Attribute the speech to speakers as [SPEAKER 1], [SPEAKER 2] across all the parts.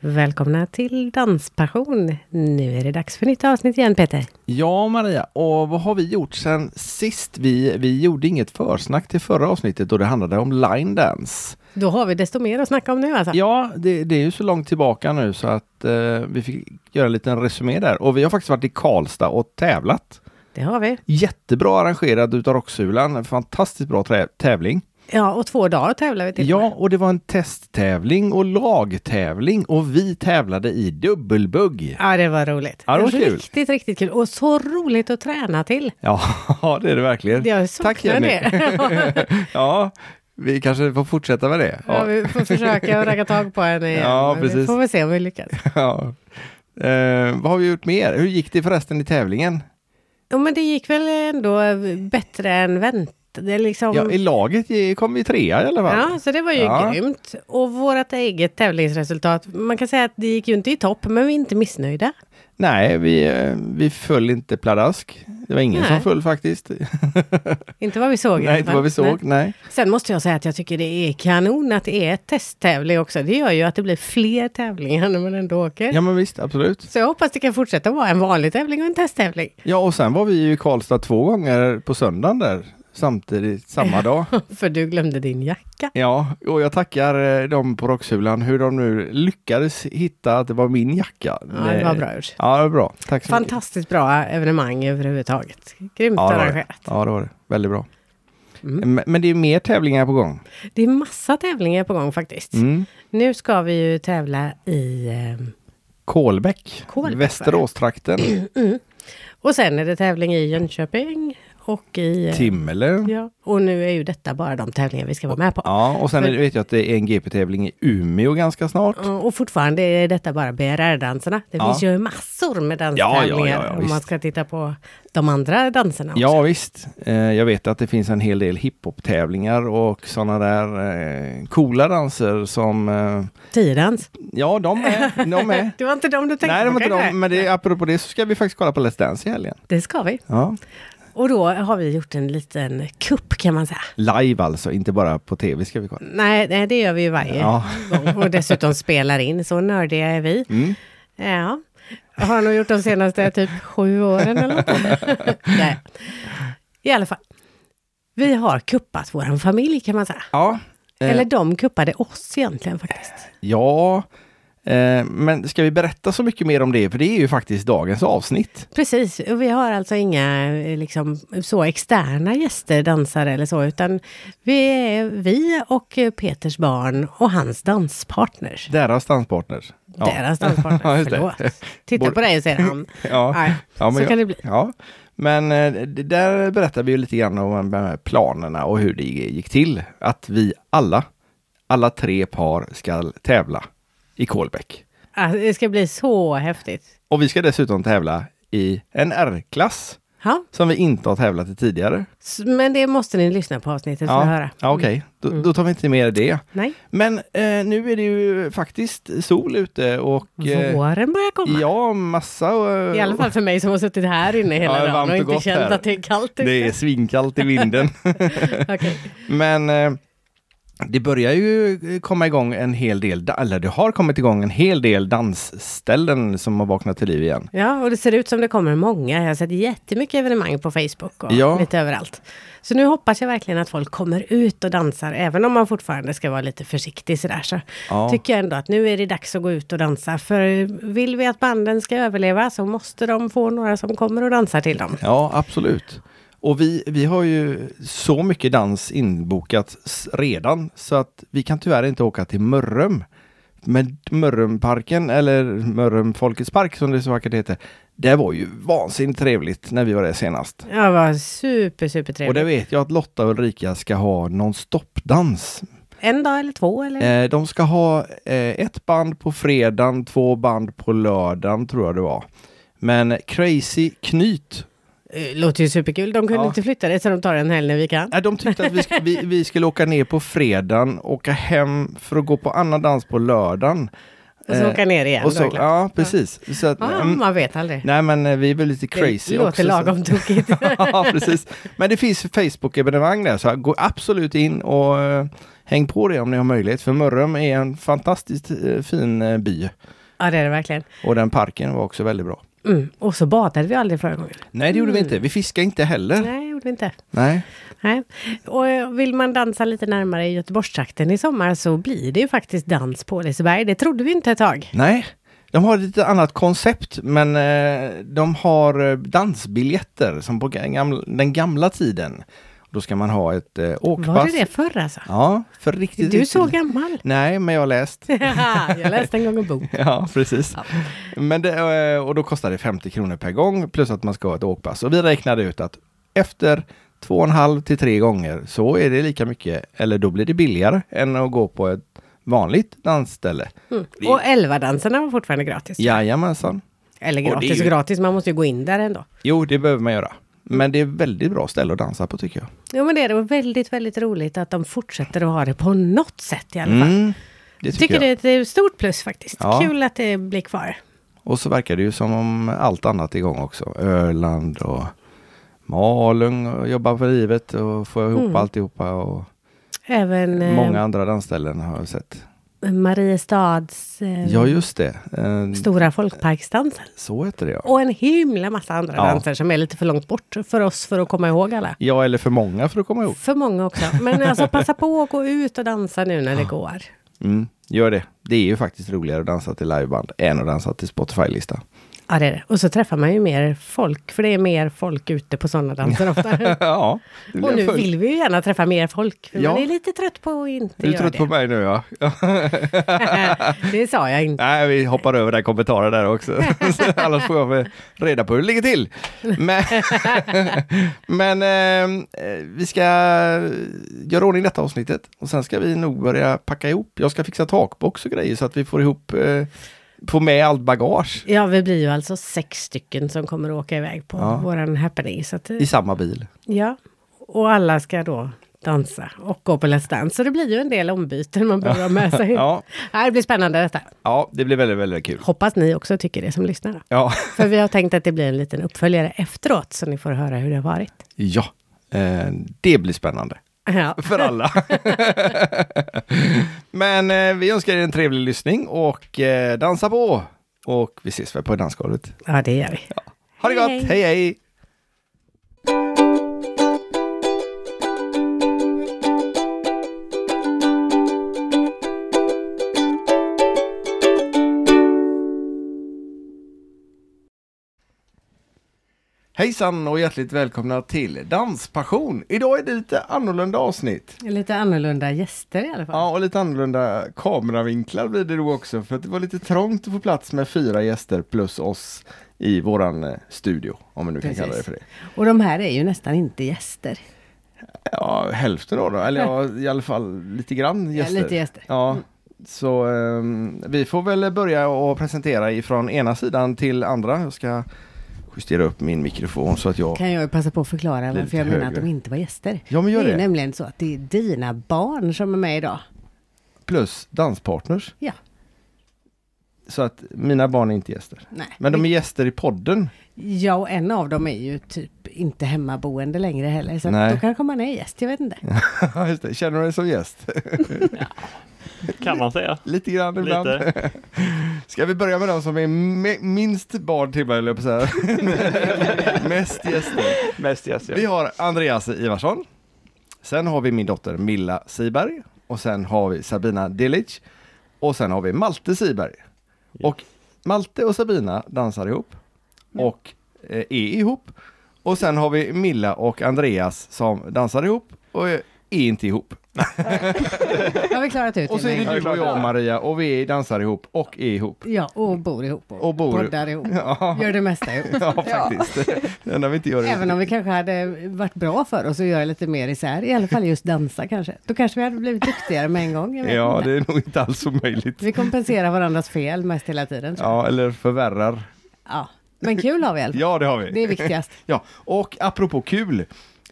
[SPEAKER 1] Välkomna till Danspassion. Nu är det dags för nytt avsnitt igen Peter.
[SPEAKER 2] Ja, Maria, och vad har vi gjort sen sist? Vi, vi gjorde inget försnack till förra avsnittet och det handlade om line dance.
[SPEAKER 1] Då har vi desto mer att snacka om nu alltså.
[SPEAKER 2] Ja, det, det är ju så långt tillbaka nu så att eh, vi fick göra en liten resumé där. Och vi har faktiskt varit i Karlstad och tävlat.
[SPEAKER 1] Det har vi.
[SPEAKER 2] Jättebra arrangerad utav Rocksulan, en fantastiskt bra trä- tävling.
[SPEAKER 1] Ja, och två dagar tävlar vi till.
[SPEAKER 2] Ja, och det var en testtävling och lagtävling och vi tävlade i dubbelbugg.
[SPEAKER 1] Ja, det var roligt.
[SPEAKER 2] Ja, det var kul.
[SPEAKER 1] Riktigt, riktigt kul. Och så roligt att träna till.
[SPEAKER 2] Ja, det är det verkligen.
[SPEAKER 1] Jag
[SPEAKER 2] Tack,
[SPEAKER 1] saknar
[SPEAKER 2] Jenny.
[SPEAKER 1] det.
[SPEAKER 2] ja, vi kanske får fortsätta med det.
[SPEAKER 1] ja, vi får försöka ragga tag på henne igen.
[SPEAKER 2] Ja,
[SPEAKER 1] men Vi
[SPEAKER 2] precis.
[SPEAKER 1] får väl se om vi lyckas.
[SPEAKER 2] Ja. Eh, vad har vi gjort mer? Hur gick det förresten i tävlingen?
[SPEAKER 1] Jo, men det gick väl ändå bättre än väntat. Det är liksom...
[SPEAKER 2] Ja, I laget i- kom vi trea i alla fall.
[SPEAKER 1] Ja, så det var ju
[SPEAKER 2] Ja.
[SPEAKER 1] grymt. Och vårt eget tävlingsresultat, man kan säga att det gick ju inte i topp, men vi är inte missnöjda.
[SPEAKER 2] Nej, vi, eh, vi föll inte pladask. Det var ingen
[SPEAKER 1] Nej.
[SPEAKER 2] som föll faktiskt.
[SPEAKER 1] Inte vad vi såg. i alla
[SPEAKER 2] Nej, inte
[SPEAKER 1] fall.
[SPEAKER 2] vad vi såg.
[SPEAKER 1] Nej.
[SPEAKER 2] Nej.
[SPEAKER 1] Sen måste jag säga att jag tycker det är kanon att det är testtävling också. Det gör ju att det blir fler tävlingar när man ändå åker.
[SPEAKER 2] Ja, men visst, absolut.
[SPEAKER 1] Så jag hoppas det kan fortsätta vara en vanlig tävling och en testtävling.
[SPEAKER 2] Ja, och sen var vi ju i Karlstad två gånger på söndagen där. Samtidigt, samma dag.
[SPEAKER 1] För du glömde din jacka.
[SPEAKER 2] Ja, och jag tackar eh, dem på Rocksulan hur de nu lyckades hitta att det var min jacka.
[SPEAKER 1] Ja, det var bra gjort.
[SPEAKER 2] Ja, det var bra. Tack så mycket.
[SPEAKER 1] Fantastiskt bra evenemang överhuvudtaget. Grymt
[SPEAKER 2] Ja, det var det.
[SPEAKER 1] arrangerat.
[SPEAKER 2] Ja, det var det. Väldigt bra.
[SPEAKER 1] Mm.
[SPEAKER 2] Men- Men det är mer tävlingar på gång.
[SPEAKER 1] Det är massa tävlingar på gång faktiskt.
[SPEAKER 2] Mm.
[SPEAKER 1] Nu ska vi ju tävla i... ehm,
[SPEAKER 2] Kolbäck,
[SPEAKER 1] Kolbäck,
[SPEAKER 2] Västeråstrakten,
[SPEAKER 1] Och sen är det tävling i Jönköping och i... eh,
[SPEAKER 2] Timmele.
[SPEAKER 1] Ja. Och nu är ju detta bara de tävlingar vi ska vara med på.
[SPEAKER 2] Ja, och sen
[SPEAKER 1] För-
[SPEAKER 2] vet jag att det är en GP-tävling i Umeå ganska snart.
[SPEAKER 1] Ja, Och fortfarande är detta bara BRR-danserna. Det
[SPEAKER 2] Ja.
[SPEAKER 1] finns ju massor med
[SPEAKER 2] ja,
[SPEAKER 1] danstävlingar
[SPEAKER 2] ja,
[SPEAKER 1] om
[SPEAKER 2] visst.
[SPEAKER 1] man ska titta på de andra danserna också.
[SPEAKER 2] Ja visst, eh, jag vet att det finns en hel del hiphop-tävlingar och sådana där eh, coola danser som... Eh,
[SPEAKER 1] Tiodans.
[SPEAKER 2] ja, de är. De är.
[SPEAKER 1] Det var inte de du tänkte
[SPEAKER 2] Nej, det var
[SPEAKER 1] på
[SPEAKER 2] inte
[SPEAKER 1] kanske?
[SPEAKER 2] de, men det, apropå det så ska vi faktiskt kolla på Let's Dance i helgen.
[SPEAKER 1] Det ska vi.
[SPEAKER 2] Ja.
[SPEAKER 1] Och då har vi gjort en liten kupp kan man säga.
[SPEAKER 2] Live alltså, inte bara på tv ska vi kolla.
[SPEAKER 1] Nej, nej, det gör vi ju varje
[SPEAKER 2] Ja.
[SPEAKER 1] gång. Och dessutom spelar in, så nördiga är vi.
[SPEAKER 2] Mm.
[SPEAKER 1] Ja. Jag har nog gjort de senaste typ sju åren eller något. Nej. I alla fall. Vi har kuppat vår familj kan man säga.
[SPEAKER 2] Ja, eh,
[SPEAKER 1] Eller de kuppade oss egentligen faktiskt.
[SPEAKER 2] ja. Eh, men ska vi berätta så mycket mer om det? För det är ju faktiskt dagens avsnitt.
[SPEAKER 1] Precis, och vi har alltså inga eh, liksom, så externa gäster, dansare eller så, utan vi är vi och eh, Peters barn och hans danspartner.
[SPEAKER 2] Deras danspartner. Ja.
[SPEAKER 1] Deras danspartner,
[SPEAKER 2] Ja, just det.
[SPEAKER 1] förlåt. Titta
[SPEAKER 2] Både-
[SPEAKER 1] på dig och säger han.
[SPEAKER 2] Ja.
[SPEAKER 1] Nej,
[SPEAKER 2] Ja, men
[SPEAKER 1] så
[SPEAKER 2] jag-
[SPEAKER 1] kan det bli.
[SPEAKER 2] ja, men eh, det där berättar vi ju lite grann om de här planerna och hur det gick till. Att vi alla, alla tre par ska tävla i Kolbäck.
[SPEAKER 1] Ah, Det ska bli så häftigt.
[SPEAKER 2] Och vi ska dessutom tävla i en R-klass
[SPEAKER 1] Ja,
[SPEAKER 2] som vi inte har tävlat i tidigare.
[SPEAKER 1] s- men det måste ni lyssna på avsnittet för
[SPEAKER 2] ja,
[SPEAKER 1] att höra. Mm.
[SPEAKER 2] ja okej. Då, då tar vi inte med det.
[SPEAKER 1] Nej,
[SPEAKER 2] Men eh, nu är det ju faktiskt sol ute och eh,
[SPEAKER 1] våren börjar komma.
[SPEAKER 2] ja, massa... eh,
[SPEAKER 1] I alla fall för mig som har suttit här inne hela
[SPEAKER 2] Ja, det är
[SPEAKER 1] dagen
[SPEAKER 2] varmt
[SPEAKER 1] och
[SPEAKER 2] och
[SPEAKER 1] inte
[SPEAKER 2] gott
[SPEAKER 1] känt
[SPEAKER 2] här.
[SPEAKER 1] att det är kallt ute.
[SPEAKER 2] Det är svinkallt i vinden.
[SPEAKER 1] Okej.
[SPEAKER 2] Men eh, det börjar ju eh, komma igång en hel del, da- eller det har kommit igång en hel del dansställen som har vaknat till liv igen.
[SPEAKER 1] Ja, och det ser ut som det kommer många. Jag har sett jättemycket evenemang på Facebook och
[SPEAKER 2] Ja.
[SPEAKER 1] lite överallt. Så nu hoppas jag verkligen att folk kommer ut och dansar, även om man fortfarande ska vara lite försiktig sådär. Så
[SPEAKER 2] Ja.
[SPEAKER 1] tycker jag ändå att nu är det dags att gå ut och dansa. För vill vi att banden ska överleva så måste de få några som kommer och dansar till dem.
[SPEAKER 2] Ja, absolut. Och vi, vi har ju så mycket dans inbokat s- redan så att vi kan tyvärr inte åka till Mörrum. Men Mörrumparken, eller Mörrum Folkets Park som det så vackert heter, det var ju vansinnigt trevligt när vi var där senast.
[SPEAKER 1] Ja, det var super, super
[SPEAKER 2] Och det
[SPEAKER 1] trevligt.
[SPEAKER 2] vet jag att Lotta och Ulrika ska ha non-stop-dans
[SPEAKER 1] En dag eller två eller?
[SPEAKER 2] Eh, de ska ha eh, ett band på fredagen, två band på lördagen tror jag det var. Men Crazy Knyt,
[SPEAKER 1] Eh, Låter ju superkul. De kunde
[SPEAKER 2] Ja.
[SPEAKER 1] inte flytta det så de tar en helg när vi kan.
[SPEAKER 2] eh, de tyckte att vi, sk- vi, vi skulle åka ner på fredagen, åka hem för att gå på annan dans på lördagen.
[SPEAKER 1] Och så
[SPEAKER 2] eh,
[SPEAKER 1] åka ner igen.
[SPEAKER 2] Och så,
[SPEAKER 1] då, klart.
[SPEAKER 2] ja, precis. Så att,
[SPEAKER 1] ja,
[SPEAKER 2] mm,
[SPEAKER 1] man vet aldrig.
[SPEAKER 2] nej men eh, vi är väl lite crazy
[SPEAKER 1] det låter
[SPEAKER 2] också. så-
[SPEAKER 1] lagom tokigt.
[SPEAKER 2] ja, precis. Men det finns Facebook-evenemang där, så gå absolut in och eh, häng på det om ni har möjlighet, för Mörrum är en fantastiskt eh, fin eh, by.
[SPEAKER 1] Ja, det är det verkligen.
[SPEAKER 2] Och den parken var också väldigt bra.
[SPEAKER 1] Mm. Och så badade vi aldrig förra gången.
[SPEAKER 2] Nej, det gjorde vi inte. Vi fiskade inte heller.
[SPEAKER 1] Mm. Nej, gjorde vi inte.
[SPEAKER 2] Nej.
[SPEAKER 1] Nej. Och eh, vill man dansa lite närmare i Göteborgstrakten i sommar så blir det ju faktiskt dans på Liseberg. Det trodde vi inte ett tag.
[SPEAKER 2] Nej. De har ett lite annat koncept, men eh, de har eh, dansbiljetter som på gam- den gamla tiden. Då ska man ha ett eh, åkpass.
[SPEAKER 1] Var det det förr alltså?
[SPEAKER 2] Ja, för riktigt.
[SPEAKER 1] Du är
[SPEAKER 2] riktigt-
[SPEAKER 1] så gammal.
[SPEAKER 2] Nej, men jag har läst.
[SPEAKER 1] jag läste en gång en bok.
[SPEAKER 2] Ja, precis. Men det, eh, och då kostar det 50 kronor per gång plus att man ska ha ett åkpass. Och vi räknade ut att efter två och en halv till tre gånger så är det lika mycket, eller då blir det billigare än att gå på ett vanligt dansställe. Mm.
[SPEAKER 1] Och elvadanserna var fortfarande gratis.
[SPEAKER 2] Jajamensan.
[SPEAKER 1] Eller
[SPEAKER 2] Och det är
[SPEAKER 1] gratis
[SPEAKER 2] ju-
[SPEAKER 1] gratis, man måste ju gå in där ändå.
[SPEAKER 2] Jo, det behöver man göra.
[SPEAKER 1] Mm.
[SPEAKER 2] Men det är väldigt bra ställe att dansa på tycker jag.
[SPEAKER 1] Jo men det är det, och väldigt, väldigt roligt att de fortsätter att ha det på något sätt i alla fall.
[SPEAKER 2] Mm, det
[SPEAKER 1] jag
[SPEAKER 2] tycker,
[SPEAKER 1] tycker det
[SPEAKER 2] jag.
[SPEAKER 1] är ett eh, stort plus faktiskt.
[SPEAKER 2] Ja.
[SPEAKER 1] Kul att det blir kvar.
[SPEAKER 2] Och så verkar det ju som om allt annat är igång också. Öland och Malung och jobba för livet och få ihop alltihopa. Och...
[SPEAKER 1] Även Mm. eh,
[SPEAKER 2] Många andra dansställen har jag sett.
[SPEAKER 1] Mariestads eh,
[SPEAKER 2] Ja, just det. Eh,
[SPEAKER 1] stora folkparksdansen.
[SPEAKER 2] Så heter det ja.
[SPEAKER 1] Och en himla massa andra
[SPEAKER 2] Ja.
[SPEAKER 1] danser som är lite för långt bort för oss för att komma ihåg alla.
[SPEAKER 2] Ja, eller för många för att komma ihåg.
[SPEAKER 1] För många också. Men alltså passa på att gå ut och dansa nu när det går.
[SPEAKER 2] Mm, gör det. Det är ju faktiskt roligare att dansa till liveband än att dansa till Spotify-lista.
[SPEAKER 1] Ja, det är det. Och så träffar man ju mer folk, för det är mer folk ute på sådana danser ofta.
[SPEAKER 2] ja, det
[SPEAKER 1] Mm. Och
[SPEAKER 2] blev
[SPEAKER 1] nu
[SPEAKER 2] fullt.
[SPEAKER 1] vill vi ju gärna träffa mer folk, för
[SPEAKER 2] Ja.
[SPEAKER 1] man är lite trött på att inte
[SPEAKER 2] Är du
[SPEAKER 1] göra
[SPEAKER 2] trött
[SPEAKER 1] det.
[SPEAKER 2] på mig nu ja?
[SPEAKER 1] det sa jag inte.
[SPEAKER 2] Nej, vi hoppar över den kommentaren där också. Så Annars får jag väl reda på hur det ligger till. Men, men eh, eh, vi ska göra ordning detta avsnittet och sen ska vi nog börja packa ihop. Jag ska fixa takbox och grejer så att vi får ihop, eh, får med allt bagage
[SPEAKER 1] Ja, vi blir ju alltså sex stycken som kommer att åka iväg på
[SPEAKER 2] Ja.
[SPEAKER 1] våran happening. Så att, eh,
[SPEAKER 2] i samma bil.
[SPEAKER 1] ja. Och alla ska då dansa och gå på Let's Dance. Så det blir ju en del ombyten man behöver ha med sig.
[SPEAKER 2] Ja.
[SPEAKER 1] Ja, det blir spännande detta.
[SPEAKER 2] Ja, det blir väldigt, väldigt kul.
[SPEAKER 1] Hoppas ni också tycker det som lyssnar. då.
[SPEAKER 2] Ja,
[SPEAKER 1] För vi har tänkt att det blir en liten uppföljare efteråt, så ni får höra hur det har varit.
[SPEAKER 2] ja. Eh, det blir spännande.
[SPEAKER 1] Ja.
[SPEAKER 2] För alla. Men eh, vi önskar er en trevlig lyssning och eh, dansa på. Och vi ses väl på dansgolvet.
[SPEAKER 1] Ja, det gör vi.
[SPEAKER 2] Ha
[SPEAKER 1] Hej,
[SPEAKER 2] det gott,
[SPEAKER 1] hej.
[SPEAKER 2] hej hej! Hejsan och hjärtligt välkomna till Danspassion! Idag är det lite annorlunda avsnitt.
[SPEAKER 1] Lite annorlunda gäster i alla fall.
[SPEAKER 2] Ja, och lite annorlunda kameravinklar blir det då också för att det var lite trångt att få plats med fyra gäster plus oss i våran eh, studio, om man nu
[SPEAKER 1] Precis.
[SPEAKER 2] kan kalla det för det.
[SPEAKER 1] Och de här är ju nästan inte gäster.
[SPEAKER 2] Ja, hälften av dem, eller ja, i alla fall lite grann gäster.
[SPEAKER 1] lite Mm. gäster.
[SPEAKER 2] Ja, så ehm, vi får väl börja och presentera ifrån ena sidan till andra. Jag ska justera upp min mikrofon så att jag...
[SPEAKER 1] Kan jag ju passa på att förklara
[SPEAKER 2] Lite
[SPEAKER 1] varför jag menar att
[SPEAKER 2] högre.
[SPEAKER 1] de inte var gäster.
[SPEAKER 2] Ja, men gör
[SPEAKER 1] det är
[SPEAKER 2] det.
[SPEAKER 1] nämligen så att det är dina barn som är med idag.
[SPEAKER 2] Plus danspartners.
[SPEAKER 1] Ja,
[SPEAKER 2] Så att mina barn är inte gäster.
[SPEAKER 1] nej.
[SPEAKER 2] Men de är gäster i podden.
[SPEAKER 1] Ja, och en av dem är ju typ inte hemmaboende längre heller. Så
[SPEAKER 2] Nej.
[SPEAKER 1] att då kanske man är gäst, jag vet inte.
[SPEAKER 2] Just det. Känner du dig som gäst?
[SPEAKER 3] Kan man säga.
[SPEAKER 2] Lite grann ibland.
[SPEAKER 3] Lite.
[SPEAKER 2] Ska vi börja med de som är me- minst barn till mig, höll jag på att säga. Mest gäster.
[SPEAKER 3] Mest yes, ja.
[SPEAKER 2] Vi har Andreas Ivarsson. Sen har vi min dotter Milla Siberg. Och sen har vi Sabina Dilic. Och sen har vi Malte Siberg. Och Malte och Sabina dansar ihop. Och eh, är ihop. Och sen har vi Milla och Andreas som dansar ihop och eh, är inte ihop.
[SPEAKER 1] Har vi klarat ut
[SPEAKER 2] Och så
[SPEAKER 1] det
[SPEAKER 2] är
[SPEAKER 1] med en
[SPEAKER 2] det du och jag Maria och vi dansar ihop och är ihop.
[SPEAKER 1] gång? Ja, och bor ihop och,
[SPEAKER 2] Och bor-
[SPEAKER 1] poddar ihop.
[SPEAKER 2] Ja,
[SPEAKER 1] Gör det mesta ihop.
[SPEAKER 2] ja faktiskt. Det enda vi inte gör är
[SPEAKER 1] Även om vi kanske hade varit bra för oss att göra lite mer isär, i alla fall just dansa kanske. Då kanske vi hade blivit duktigare med en gång. Jag vet
[SPEAKER 2] Ja,
[SPEAKER 1] inte.
[SPEAKER 2] det är nog inte alls omöjligt.
[SPEAKER 1] Vi kompenserar varandras fel mest hela tiden. tror jag.
[SPEAKER 2] Ja, eller förvärrar.
[SPEAKER 1] Ja. Men kul har vi i alla fall.
[SPEAKER 2] Ja, det har vi.
[SPEAKER 1] Det är viktigast.
[SPEAKER 2] Ja, och apropå kul.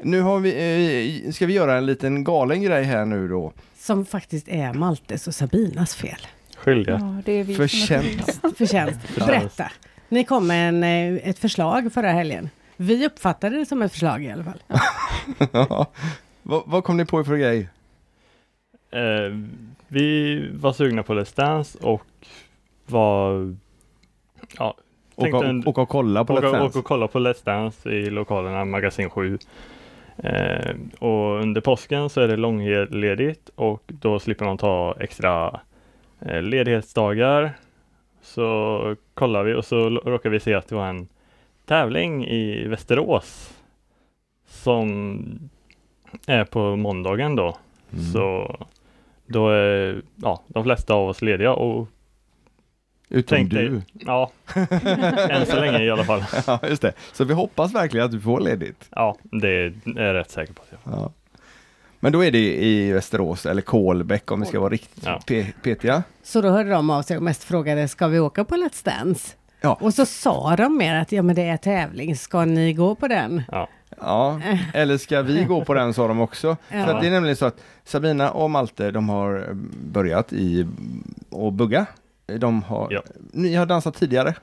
[SPEAKER 2] Nu har vi, eh, ska vi göra en liten galen grej här nu då.
[SPEAKER 1] Som faktiskt är Maltes och Sabinas fel.
[SPEAKER 3] Skyldiga.
[SPEAKER 4] Ja, det är vi som är
[SPEAKER 2] Förtjänst.
[SPEAKER 1] Förtjänst. Berätta. Ni kom med en, eh, ett förslag förra helgen. Vi uppfattade det som ett förslag i alla fall.
[SPEAKER 2] Ja. Vad vad kom ni på för grej?
[SPEAKER 3] Eh, vi var sugna på Let's Dance och var... Ja,
[SPEAKER 2] Åka
[SPEAKER 3] tänkte en-
[SPEAKER 2] åka och kolla på
[SPEAKER 3] åka,
[SPEAKER 2] Let's
[SPEAKER 3] åka
[SPEAKER 2] Dance.
[SPEAKER 3] och kolla på Let's Dance i lokalerna Magasin 7. Eh, och under påsken så är det långledigt och då slipper man ta extra eh, ledighetsdagar. Så kollar vi och så l- råkar vi se att det var en tävling i Västerås som är på måndagen då.
[SPEAKER 2] Mm.
[SPEAKER 3] Så då är ja, de flesta av oss lediga och
[SPEAKER 2] Utom
[SPEAKER 3] Tänk dig-
[SPEAKER 2] du.
[SPEAKER 3] ja, än så länge i alla fall.
[SPEAKER 2] Ja, just det. Så vi hoppas verkligen att du får ledigt.
[SPEAKER 3] Ja, det är jag rätt säker på att jag
[SPEAKER 2] Ja. Men då är det i Västerås eller Kolbäck om vi ska vara riktigt
[SPEAKER 3] Ja.
[SPEAKER 2] pe- petiga.
[SPEAKER 1] Så då hörde de av sig och mest frågade, ska vi åka på Let's Dance?
[SPEAKER 2] Ja.
[SPEAKER 1] Och så sa de mer att, ja men det är tävling, ska ni gå på den?
[SPEAKER 3] Ja,
[SPEAKER 2] Ja, eller ska vi gå på den sa de också.
[SPEAKER 1] Ja.
[SPEAKER 2] För att det är nämligen så att Sabina och Malte de har eh, börjat i och bugga. De har,
[SPEAKER 3] Ja.
[SPEAKER 2] Ni har dansat tidigare?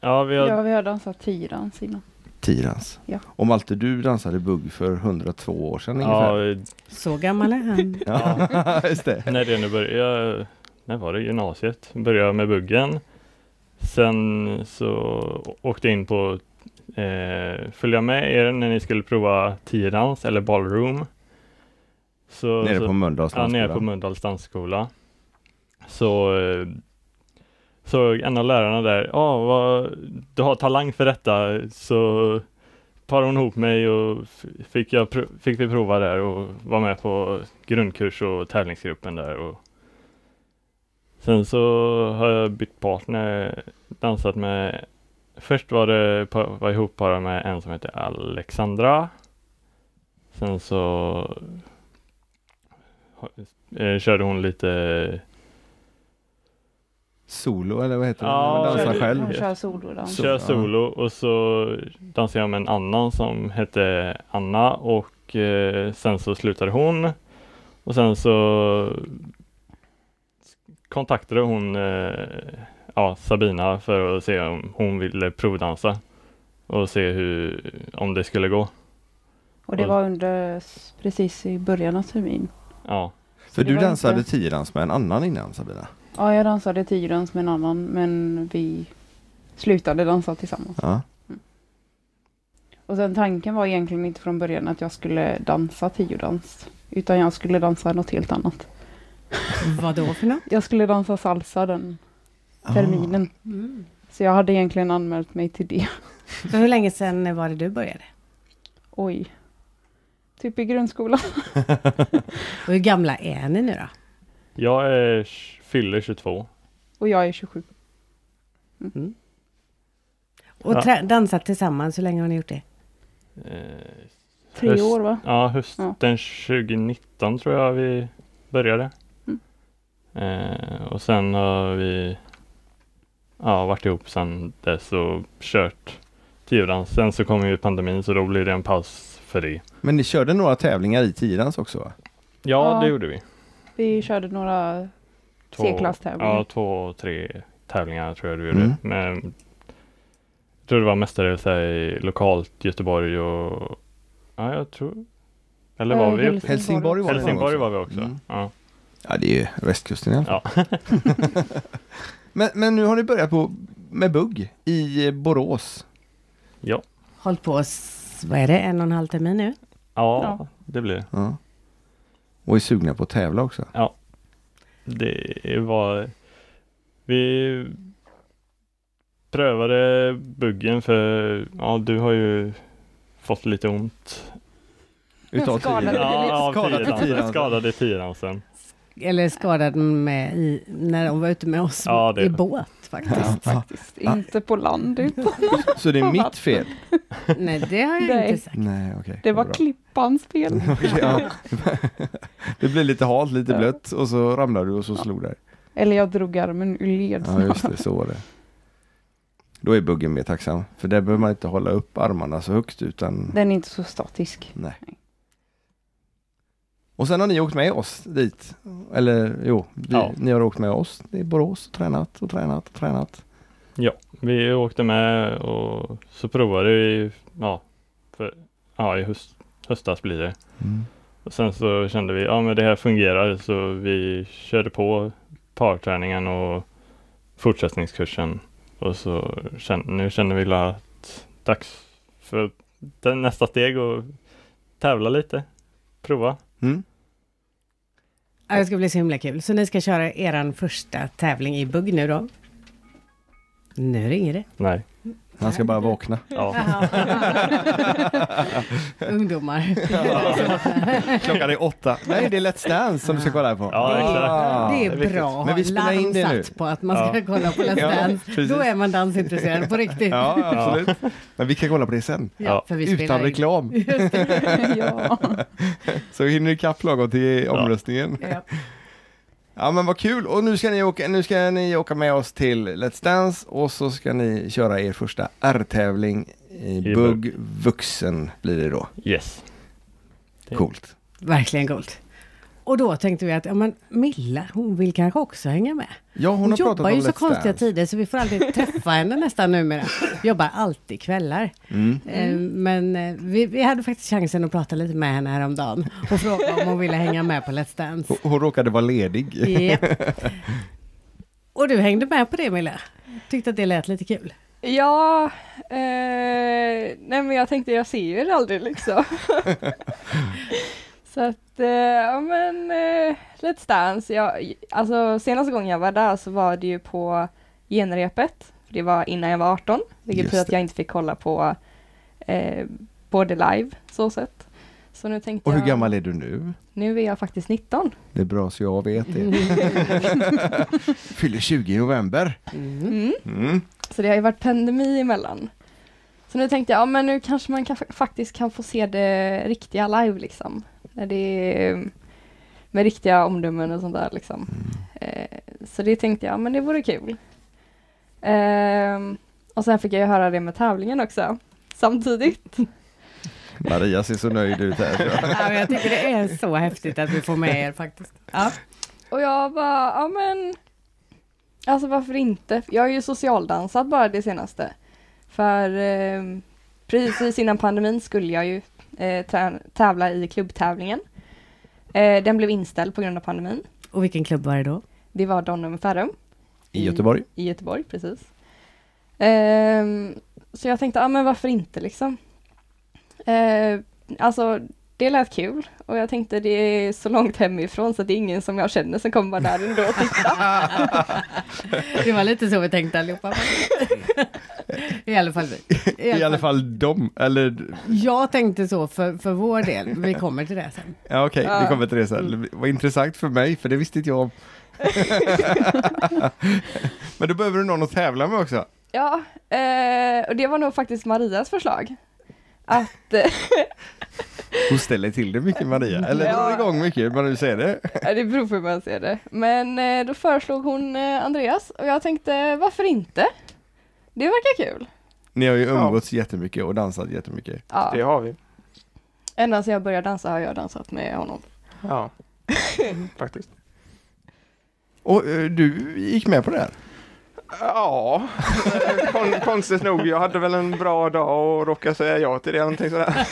[SPEAKER 3] ja vi har,
[SPEAKER 4] Ja, vi har dansat tiodans innan.
[SPEAKER 2] Tidans.
[SPEAKER 4] Ja.
[SPEAKER 2] Och Malte du dansade bugg för 102 år sedan ungefär.
[SPEAKER 3] ja,
[SPEAKER 1] Så gammal är han.
[SPEAKER 2] Ja, just det.
[SPEAKER 3] när det nu började, när var det, gymnasiet, började med buggen. Sen så å- åkte jag in på eh, följa med er när ni skulle prova tiodans eller ballroom. Så,
[SPEAKER 2] Nere
[SPEAKER 3] så,
[SPEAKER 2] på Mölndals
[SPEAKER 3] Ja, nere
[SPEAKER 2] dansskola.
[SPEAKER 3] på Mölndals dansskola. Så eh, såg en av lärarna där, ja vad, du har talang för detta, så parade hon ihop mig och f- fick, jag pr- fick vi prova där och var med på grundkurs och tävlingsgruppen där. Och sen så har jag bytt partner, dansat med, först var det pa- var ihop bara med en som heter Alexandra. Sen så eh, körde hon lite
[SPEAKER 2] Solo eller vad heter det?
[SPEAKER 3] Ja,
[SPEAKER 2] När man
[SPEAKER 3] Dansa
[SPEAKER 2] dansar
[SPEAKER 3] det-
[SPEAKER 2] själv.
[SPEAKER 4] Hon kör solodans.
[SPEAKER 2] Så-
[SPEAKER 3] kör
[SPEAKER 2] ja.
[SPEAKER 3] solo och så dansade jag med en annan som hette Anna och eh, sen så slutade hon och sen så kontaktade hon eh, ja, Sabina för att se om hon ville provdansa och se hur, om det skulle gå.
[SPEAKER 4] Och det var under s- precis i början av termin.
[SPEAKER 3] Ja,
[SPEAKER 2] För
[SPEAKER 4] det
[SPEAKER 2] du
[SPEAKER 4] var inte-
[SPEAKER 2] dansade tidans med en annan innan Sabina?
[SPEAKER 4] Ja, jag dansade tiodans med en annan, men vi slutade dansa tillsammans.
[SPEAKER 2] Ja.
[SPEAKER 4] Och sen tanken var egentligen inte från början att jag skulle dansa tiodans, utan jag skulle dansa något helt annat.
[SPEAKER 1] Vad då för något?
[SPEAKER 4] Jag skulle dansa salsa den
[SPEAKER 2] Ah.
[SPEAKER 4] terminen.
[SPEAKER 1] Mm.
[SPEAKER 4] Så jag hade egentligen anmält mig till det.
[SPEAKER 1] Så hur länge sedan var det du började?
[SPEAKER 4] Oj. Typ i grundskolan.
[SPEAKER 1] Och hur gamla är ni nu då?
[SPEAKER 3] jag är, fyller 22.
[SPEAKER 4] Och jag är 27.
[SPEAKER 1] Och
[SPEAKER 3] Ja.
[SPEAKER 1] trä- dansat tillsammans, hur länge har ni gjort det?
[SPEAKER 3] Eh,
[SPEAKER 4] Tre
[SPEAKER 3] Höst.
[SPEAKER 4] år va?
[SPEAKER 3] Ja, hösten 2019 tror jag vi började.
[SPEAKER 4] Mm.
[SPEAKER 3] Eh, och sen har vi ja, varit ihop sedan dess och kört tiodans. Sen så kom ju pandemin så då blev det en paus för det.
[SPEAKER 2] Men ni körde några tävlingar i tidans också va?
[SPEAKER 3] Ja,
[SPEAKER 4] Ja.
[SPEAKER 3] det gjorde vi.
[SPEAKER 4] Vi körde några C-klasstävlingar.
[SPEAKER 3] Ja, två, tre tävlingar tror jag du gjorde.
[SPEAKER 2] Mm.
[SPEAKER 3] Men, jag tror det var mestadels här i lokalt Göteborg och ja, jag tror eller var
[SPEAKER 4] Eh,
[SPEAKER 3] vi
[SPEAKER 4] Helsingborg.
[SPEAKER 2] Helsingborg var det
[SPEAKER 3] Helsingborg
[SPEAKER 2] också.
[SPEAKER 3] var vi också.
[SPEAKER 2] Mm.
[SPEAKER 3] Ja.
[SPEAKER 2] Ja, det är ju västkusten i alla fall.
[SPEAKER 3] Ja.
[SPEAKER 2] men, men nu har ni börjat på, med bugg i Borås.
[SPEAKER 3] ja.
[SPEAKER 1] Hållt på, s- vad är det, en och en halv termin nu?
[SPEAKER 3] Ja,
[SPEAKER 4] Ja.
[SPEAKER 3] det blir det.
[SPEAKER 2] Ja. Och är sugna på att tävla också.
[SPEAKER 3] det. var... Vi prövade buggen för, ja du har ju fått lite ont.
[SPEAKER 2] Utav
[SPEAKER 4] Skadade
[SPEAKER 2] tiden.
[SPEAKER 4] Ja,
[SPEAKER 3] av
[SPEAKER 2] skadad i
[SPEAKER 3] tiransen.
[SPEAKER 2] tiransen.
[SPEAKER 3] Skadad i tiransen.
[SPEAKER 1] Eller skadad med i, när de var ute med oss
[SPEAKER 3] Ja, det-
[SPEAKER 1] i båt faktiskt.
[SPEAKER 4] Faktiskt.
[SPEAKER 2] Ja.
[SPEAKER 4] Inte på land. utan-
[SPEAKER 2] Så det är mitt fel?
[SPEAKER 1] Nej, det har jag
[SPEAKER 4] Nej.
[SPEAKER 1] inte sagt.
[SPEAKER 2] Nej, okej.
[SPEAKER 4] Det
[SPEAKER 2] Bra.
[SPEAKER 4] var Klippans fel.
[SPEAKER 2] Okej, ja. Det blev lite halt, lite
[SPEAKER 4] Ja.
[SPEAKER 2] blött och så ramlade du och så slog dig.
[SPEAKER 4] Eller jag drog armen ur led.
[SPEAKER 2] Ja, just det, så var det. Då är buggen mer tacksam. För där behöver man inte hålla upp armarna så högt utan
[SPEAKER 4] Den är inte så statisk.
[SPEAKER 2] Nej. Och sen har ni åkt med oss dit. Eller jo, vi,
[SPEAKER 3] Ja.
[SPEAKER 2] ni har åkt med oss i Borås och tränat och tränat och tränat.
[SPEAKER 3] Vi åkte med och så provade vi, ja, för, ja i höst, höstas blir det. Och sen så kände vi, ja men det här fungerar, så vi körde på parträningen och fortsättningskursen. Och så kände, nu känner vi la att dags för det- nästa steg och tävla lite, prova.
[SPEAKER 2] Mm.
[SPEAKER 1] Ja, det ska bli så himla kul. Så ni ska köra er första tävling i bugg nu då? Nu ringer det.
[SPEAKER 3] Nej,
[SPEAKER 2] Han ska bara vakna.
[SPEAKER 3] ja.
[SPEAKER 1] Ungdomar.
[SPEAKER 2] Klockan är åtta. Nej, det är Let's Dance som du ska kolla på.
[SPEAKER 3] Ja, exakt.
[SPEAKER 2] Ah.
[SPEAKER 1] det
[SPEAKER 3] det är
[SPEAKER 1] är
[SPEAKER 3] viktigt.
[SPEAKER 1] bra att
[SPEAKER 2] Men
[SPEAKER 1] ha
[SPEAKER 2] vi spelar
[SPEAKER 1] larm
[SPEAKER 2] in det nu.
[SPEAKER 1] satt på att man ska
[SPEAKER 3] Ja.
[SPEAKER 1] kolla på Let's
[SPEAKER 2] Ja,
[SPEAKER 1] Dance.
[SPEAKER 2] precis.
[SPEAKER 1] Då är man dansintresserad på riktigt. Ja.
[SPEAKER 2] Ja, absolut. Men vi kan kolla på det sen.
[SPEAKER 3] Ja,
[SPEAKER 1] för vi spelar
[SPEAKER 2] Utan
[SPEAKER 1] in.
[SPEAKER 2] reklam.
[SPEAKER 4] ja.
[SPEAKER 2] Så vi hinner ikapp lagom till omröstningen.
[SPEAKER 4] ja.
[SPEAKER 2] Ja men vad kul! Och nu ska, ni åka, nu ska ni åka med oss till Let's Dance och så ska ni köra er första R-tävling i
[SPEAKER 3] bugg.
[SPEAKER 2] Bugg Vuxen blir det då.
[SPEAKER 3] Yes. Det-
[SPEAKER 2] Coolt!
[SPEAKER 1] Verkligen coolt. Och då tänkte vi att, ja men Milla, hon vill kanske också hänga med.
[SPEAKER 2] Ja hon,
[SPEAKER 1] Hon,
[SPEAKER 2] har pratat
[SPEAKER 1] jobbar
[SPEAKER 2] om
[SPEAKER 1] ju så
[SPEAKER 2] Let's
[SPEAKER 1] konstiga
[SPEAKER 2] Dance.
[SPEAKER 1] tider så vi får aldrig träffa henne nästan numera. Jobbar alltid kvällar.
[SPEAKER 2] Mm.
[SPEAKER 1] Eh, Men eh, vi, vi hade faktiskt chansen att prata lite med henne häromdagen och fråga om hon ville hänga med på Let's Dance.
[SPEAKER 2] Hon, hon råkade vara ledig.
[SPEAKER 1] Japp. Och du hängde med på det Milla? Tyckte att det lät lite kul?
[SPEAKER 5] Ja, eh, nej men jag tänkte jag ser ju er aldrig liksom. så att, eh, ja men eh, Let's Dance, jag, alltså senaste gången jag var där så var det ju på genrepet. Det var innan jag var 18, vilket
[SPEAKER 2] Just
[SPEAKER 5] betyder att
[SPEAKER 2] det.
[SPEAKER 5] jag inte fick kolla på eh, både live så sett. Så nu tänkte
[SPEAKER 2] Och hur
[SPEAKER 5] jag,
[SPEAKER 2] gammal är du nu?
[SPEAKER 5] nu är jag faktiskt 19.
[SPEAKER 2] Det är bra så jag vet
[SPEAKER 1] Mm.
[SPEAKER 2] det. Fyller 20 i november.
[SPEAKER 1] Mm.
[SPEAKER 5] Mm.
[SPEAKER 2] Mm.
[SPEAKER 5] Så det har ju varit pandemi emellan. Så nu tänkte jag, ja men nu kanske man kan, faktiskt kan få se det riktiga live liksom. När det är mm, med riktiga omdömen och sånt där liksom. Eh, så det tänkte jag, men det vore kul. Ehm, och sen fick jag ju höra det med tävlingen också. Samtidigt.
[SPEAKER 2] Maria ser så nöjd ut här.
[SPEAKER 1] Ja, men jag tycker det är så häftigt att vi får med er faktiskt. Ja.
[SPEAKER 5] Och jag bara, ja men Alltså varför inte? Jag har ju socialdansat bara det senaste. För eh, precis innan pandemin skulle jag ju eh, trä- tävla i klubbtävlingen. Eh, den blev inställd på grund av pandemin.
[SPEAKER 1] Och vilken klubb var det då?
[SPEAKER 5] Det var Donum Ferrum
[SPEAKER 2] I Göteborg.
[SPEAKER 5] i Göteborg, precis. Ehm, så jag tänkte, ja ah, men varför inte liksom. Eh, alltså, det lät kul och jag tänkte det är så långt hemifrån så det är ingen som jag känner som kommer vara där ändå och titta.
[SPEAKER 1] Det var lite så vi tänkte allihopa.
[SPEAKER 2] Mm.
[SPEAKER 1] I alla fall vi.
[SPEAKER 2] I alla fall de, eller
[SPEAKER 1] Jag tänkte så för, för vår del. Vi kommer till det sen.
[SPEAKER 2] Ja okej,
[SPEAKER 5] Ja. Mm.
[SPEAKER 2] vi kommer till det sen. Det var intressant för mig, för det visste inte jag om. Men då behöver du någon att tävla med också.
[SPEAKER 5] Ja, eh, och det var nog faktiskt Marias förslag. Att, eh,
[SPEAKER 2] Hon ställer till det mycket Maria, eller
[SPEAKER 5] Ja.
[SPEAKER 2] drar igång mycket, men du säger det.
[SPEAKER 5] det beror på hur man ser det. Men eh, då föreslog hon eh, Andreas och jag tänkte varför inte? Det verkar kul.
[SPEAKER 2] Ni har ju umgåtts jättemycket och dansat jättemycket.
[SPEAKER 6] Det
[SPEAKER 5] Ja,
[SPEAKER 6] har vi.
[SPEAKER 5] ända sedan jag började dansa har jag dansat med honom.
[SPEAKER 6] Ja, faktiskt.
[SPEAKER 2] Och eh, du gick med på det här?
[SPEAKER 6] Ja, Kon, konstigt nog. Jag hade väl en bra dag och råkade säga ja till det eller någonting sådär.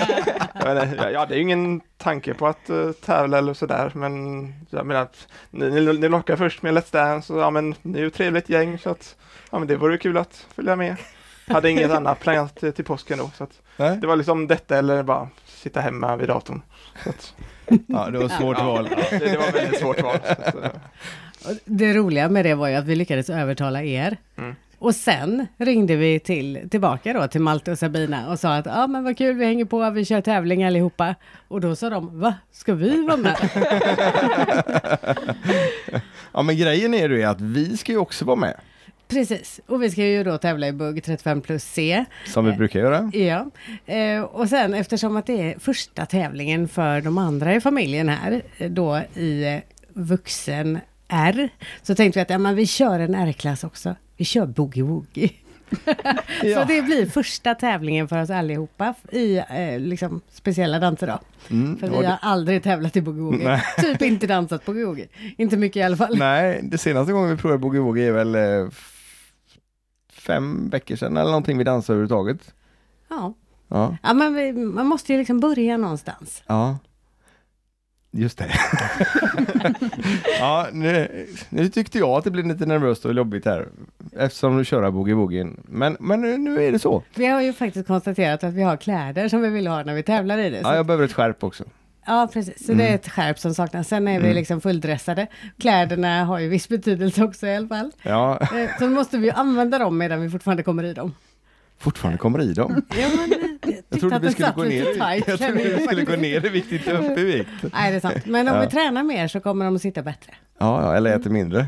[SPEAKER 6] Jag, vet inte, jag hade ju ingen tanke på att eh, tävla eller sådär, men jag menar att ni, ni, ni lockade först med Let's Dance och ja, men ni är ju ett trevligt gäng så att ja, men det vore ju kul att följa med. Hade inget annat planerat till, till påsken då, så att
[SPEAKER 2] Nej?
[SPEAKER 6] det var liksom detta eller bara sitta hemma vid datorn. Så att,
[SPEAKER 2] Ja, det var ett svårt val.
[SPEAKER 6] det, det var väldigt svårt val. Så att, eh,
[SPEAKER 1] Och Det roliga med det var ju att vi lyckades övertala er.
[SPEAKER 6] Mm.
[SPEAKER 1] Och sen ringde vi till, tillbaka då till Malte och Sabina och sa att ja ah, men vad kul vi hänger på, vi kör tävling allihopa. Och då sa de, va, ska vi vara med?
[SPEAKER 2] Ja men grejen är ju att vi ska ju också vara med,
[SPEAKER 1] Precis, och vi ska ju då tävla i bugg 35 plus C.
[SPEAKER 2] som vi brukar göra.
[SPEAKER 1] Ja, eh, och sen eftersom att det är första tävlingen för de andra i familjen här, eh, då i eh, vuxen R, så tänkte vi att ja, men vi kör en R-klass också. Vi kör boogie-woogie.
[SPEAKER 2] Ja.
[SPEAKER 1] Så det blir första tävlingen för oss allihopa i eh, liksom, speciella danser då.
[SPEAKER 2] Mm,
[SPEAKER 1] För
[SPEAKER 2] och
[SPEAKER 1] vi
[SPEAKER 2] det-
[SPEAKER 1] har aldrig tävlat i boogie-woogie. Typ inte dansat boogie-woogie. Inte mycket i alla fall.
[SPEAKER 2] Nej, det senaste gången vi provade boogie woogie är väl eh, f- fem veckor sedan eller någonting vi dansade överhuvudtaget.
[SPEAKER 1] Ja.
[SPEAKER 2] Ja.
[SPEAKER 1] ja, men vi, man måste ju liksom börja någonstans.
[SPEAKER 2] ja. Just det. ja, nu, nu tyckte jag att det blev lite nervöst och jobbigt här. Eftersom du kör boogie-boogien. Men, men nu, nu är det så.
[SPEAKER 1] Vi har ju faktiskt konstaterat att vi har kläder som vi vill ha när vi tävlar i det. Så
[SPEAKER 2] Ja, jag behöver ett skärp också.
[SPEAKER 1] Ja, precis. Så det
[SPEAKER 2] Mm.
[SPEAKER 1] är ett skärp som saknas. Sen är vi liksom fulldressade. Kläderna har ju viss betydelse också i alla fall.
[SPEAKER 2] Ja,
[SPEAKER 1] Eh, Så måste vi ju använda dem medan vi fortfarande kommer i dem.
[SPEAKER 2] fortfarande kommer i dem.
[SPEAKER 1] Ja, men,
[SPEAKER 2] Jag trodde vi skulle gå ner i vikt. Jag trodde vi skulle gå ner i vikt, inte upp i vikt.
[SPEAKER 1] Nej, det är sant. Men om
[SPEAKER 2] Ja.
[SPEAKER 1] vi tränar mer så kommer de att sitta bättre.
[SPEAKER 2] Ja, ja, eller äter mindre.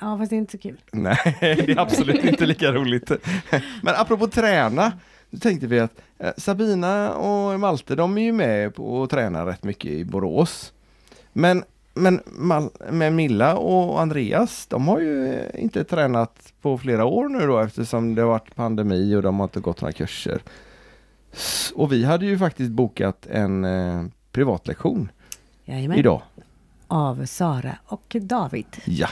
[SPEAKER 1] Ja, fast det är inte så kul.
[SPEAKER 2] Nej, det är absolut inte lika roligt. Men apropå träna, då tänkte vi att eh, Sabina och Malte, de är ju med på att träna rätt mycket i Borås. Men, men Mal- med Milla och Andreas, de har ju eh, inte tränat på flera år nu då eftersom det har varit pandemi och de har inte gått några kurser. S- Och vi hade ju faktiskt bokat en eh, privatlektion
[SPEAKER 1] Jajamän.
[SPEAKER 2] idag.
[SPEAKER 1] Av Sara och David.
[SPEAKER 2] Ja.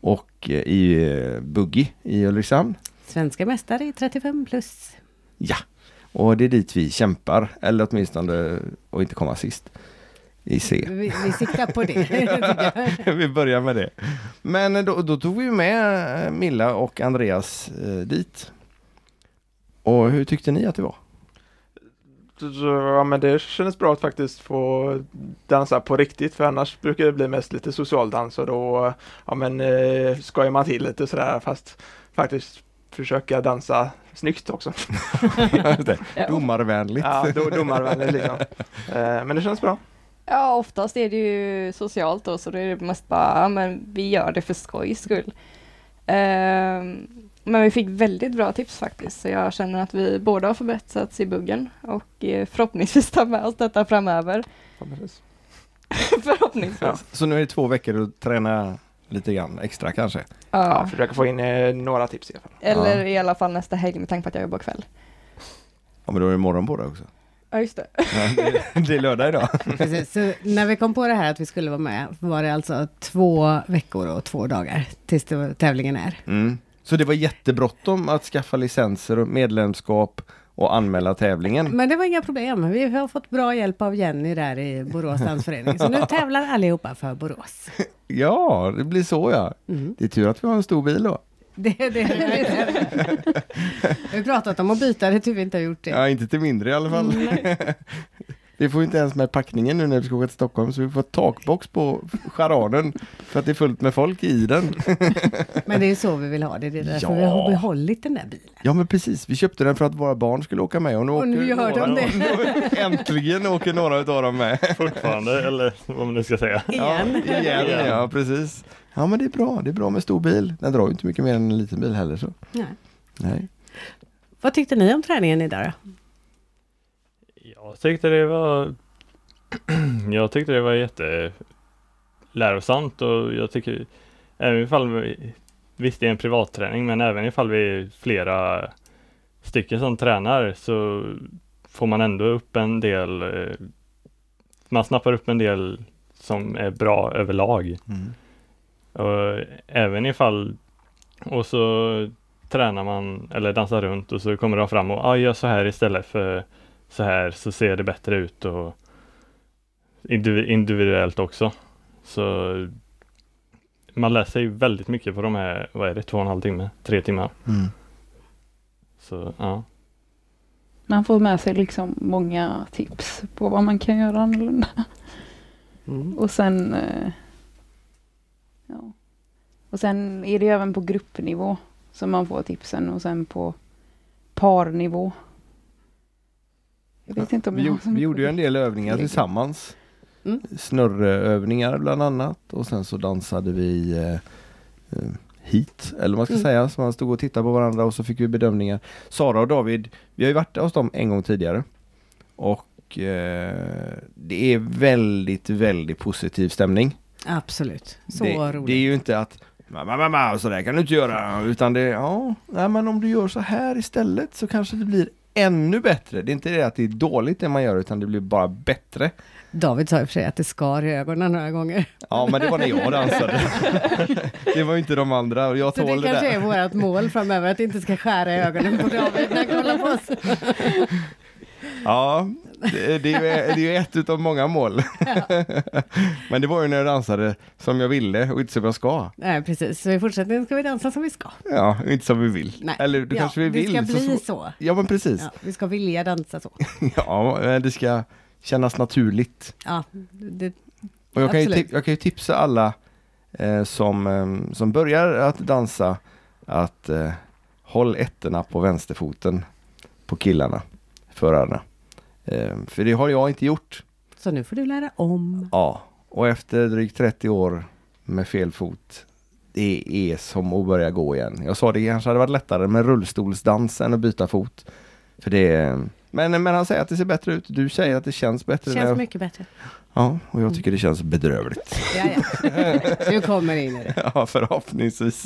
[SPEAKER 2] Och eh, i eh, Buggy i Ulricehamn.
[SPEAKER 1] Svenska mästare i 35 plus.
[SPEAKER 2] Ja, och det är dit vi kämpar, eller åtminstone att inte komma sist i C.
[SPEAKER 1] Vi, vi siktar på det. tycker jag.
[SPEAKER 2] vi börjar med det. Men då, då tog vi med eh, Milla och Andreas eh, dit. Och hur tyckte ni att det var?
[SPEAKER 6] Ja men det kändes bra att faktiskt få dansa på riktigt för annars brukar det bli mest lite socialdans och då ja men eh, skojar man till lite sådär fast faktiskt försöka dansa snyggt också.
[SPEAKER 2] Det, Domarvänligt.
[SPEAKER 6] Ja, då domarvänligt liksom. Eh, men det känns bra.
[SPEAKER 5] Ja, oftast är det ju socialt då, så då är det mest bara, ja, men vi gör det för skojs skull. Ehm, men vi fick väldigt bra tips faktiskt, så jag känner att vi båda har förbättrats i buggen och eh, förhoppningsvis tar med oss detta framöver. förhoppningsvis.
[SPEAKER 6] Ja.
[SPEAKER 2] Så nu är det två veckor att träna lite grann extra kanske.
[SPEAKER 6] Ja,
[SPEAKER 5] Ja.
[SPEAKER 6] försöka få in eh, några tips i alla fall.
[SPEAKER 5] Eller
[SPEAKER 2] Ja.
[SPEAKER 5] i alla fall nästa helg med tanke på att jag jobbar kväll.
[SPEAKER 2] Ja men då är det morgon på det också.
[SPEAKER 5] Ja, just det.
[SPEAKER 2] Ja, det, det är lördag idag.
[SPEAKER 1] Precis. Så när vi kom på det här att vi skulle vara med var det alltså två veckor och två dagar tills det var- tävlingen är.
[SPEAKER 2] Mm. Så det var jättebråttom att skaffa licenser och medlemskap och anmäla tävlingen.
[SPEAKER 1] Mm. Men det var inga problem. Vi har fått bra hjälp av Jenny där i Borås dansförening. Så nu tävlar allihopa för Borås.
[SPEAKER 2] Ja, det blir så ja.
[SPEAKER 1] Mm.
[SPEAKER 2] Det är tur att vi har en stor bil då.
[SPEAKER 1] Det, det, det, Vi har pratat om att byta, det är tur vi inte har gjort det. Mm,
[SPEAKER 2] Ja, inte till mindre i alla fall. vi får ju inte ens med packningen nu när vi ska åka till Stockholm, så vi får takbox på charaden för att det är fullt med folk i den.
[SPEAKER 1] Men det är så vi vill ha det. Det är därför
[SPEAKER 2] Ja.
[SPEAKER 1] vi har behållit den där bilen.
[SPEAKER 2] Ja, men precis. Vi köpte den för att våra barn skulle åka med och nu,
[SPEAKER 1] Och nu
[SPEAKER 2] åker
[SPEAKER 1] gör
[SPEAKER 2] några,
[SPEAKER 1] de det.
[SPEAKER 2] Äntligen åker några utav dem med.
[SPEAKER 3] fortfarande, eller vad man nu ska säga.
[SPEAKER 1] Igen.
[SPEAKER 2] Ja, igen,
[SPEAKER 3] Igen.
[SPEAKER 2] ja precis. Ja, men det är bra. Det är bra med stor bil. Den drar ju inte mycket mer än en liten bil heller så.
[SPEAKER 1] Nej.
[SPEAKER 2] Nej.
[SPEAKER 1] Vad tyckte ni om träningen idag då?
[SPEAKER 3] Jag tyckte det var Jag tyckte det var jätte lärosamt och jag tycker även ifall vi, visst det är en privatträning men även ifall vi är flera stycken som tränar så får man ändå upp en del eh, man snappar upp en del som är bra överlag. Och även ifall och så tränar man eller dansar runt och så kommer de fram och ah, gör så här istället för så här så ser det bättre ut och indivi- individuellt också. Så man lär sig väldigt mycket på de här, vad är det, två och en halv timme, tre timmar.
[SPEAKER 2] Mm.
[SPEAKER 3] Så ja.
[SPEAKER 4] Man får med sig liksom många tips på vad man kan göra annorlunda. Och sen... eh, Ja. Och sen är det ju även på gruppnivå som man får tipsen och sen på parnivå. Jag vet inte om
[SPEAKER 2] Vi,
[SPEAKER 4] jag har
[SPEAKER 2] gjorde,
[SPEAKER 4] så
[SPEAKER 2] vi
[SPEAKER 4] mycket
[SPEAKER 2] gjorde ju en del övningar tillsammans.
[SPEAKER 1] Mm.
[SPEAKER 2] Snurrövningar bland annat och sen så dansade vi eh, eh, hit eller vad man ska
[SPEAKER 1] Mm.
[SPEAKER 2] säga. Så man stod och tittade på varandra och så fick vi bedömningar. Sara och David, vi har ju varit hos dem en gång tidigare. Och eh, det är väldigt, väldigt positiv stämning.
[SPEAKER 1] Absolut. Så
[SPEAKER 2] det,
[SPEAKER 1] roligt.
[SPEAKER 2] det är ju inte att mamma, mamma, så där kan du inte göra. Utan det är, ja, nej, men om du gör så här istället så kanske det blir ännu bättre. Det är inte det att det är dåligt det man gör utan det blir bara bättre.
[SPEAKER 1] David sa i och för sig att det skar i ögonen några gånger.
[SPEAKER 2] Ja, men det var när jag dansade. det var ju inte de andra och jag
[SPEAKER 1] Så
[SPEAKER 2] tål
[SPEAKER 1] det
[SPEAKER 2] det,
[SPEAKER 1] kanske är
[SPEAKER 2] där.
[SPEAKER 1] vårt mål framöver, att det inte ska skära i ögonen på David när han kollar på oss.
[SPEAKER 2] Ja, Det, det, är, ju- det är ju ett utav många mål. Men det var ju när jag dansade som jag ville och inte som jag ska.
[SPEAKER 1] Nej, precis. Så i fortsättningen ska vi dansa som vi ska.
[SPEAKER 2] Ja, inte som vi vill.
[SPEAKER 1] Nej.
[SPEAKER 2] Eller det
[SPEAKER 1] Ja,
[SPEAKER 2] kanske vi vill.
[SPEAKER 1] Det ska bli
[SPEAKER 2] svå-
[SPEAKER 1] så.
[SPEAKER 2] Ja, men precis.
[SPEAKER 1] Ja, vi ska vilja dansa så.
[SPEAKER 2] Ja, men det ska kännas naturligt.
[SPEAKER 1] Ja, det,
[SPEAKER 2] Och jag, kan ju,
[SPEAKER 1] Absolut.
[SPEAKER 2] tip- jag kan ju tipsa alla eh, som, eh, som börjar att dansa att eh, håll ettorna på vänsterfoten på killarna, förarna. Eh, för det har jag inte gjort.
[SPEAKER 1] så nu får du lära om.
[SPEAKER 2] Ja, och efter drygt 30 år med fel fot, det är som att börja gå igen. Jag sa det kanske hade varit lättare med rullstolsdans än att byta fot. För det är... men, men han säger att det ser bättre ut. Du säger att det känns bättre.
[SPEAKER 1] Det
[SPEAKER 2] när
[SPEAKER 1] känns
[SPEAKER 2] jag...
[SPEAKER 1] mycket bättre.
[SPEAKER 2] Ja, och jag tycker det känns bedrövligt.
[SPEAKER 1] Ja, ja. Mm. Du kommer in i det.
[SPEAKER 2] Ja, förhoppningsvis.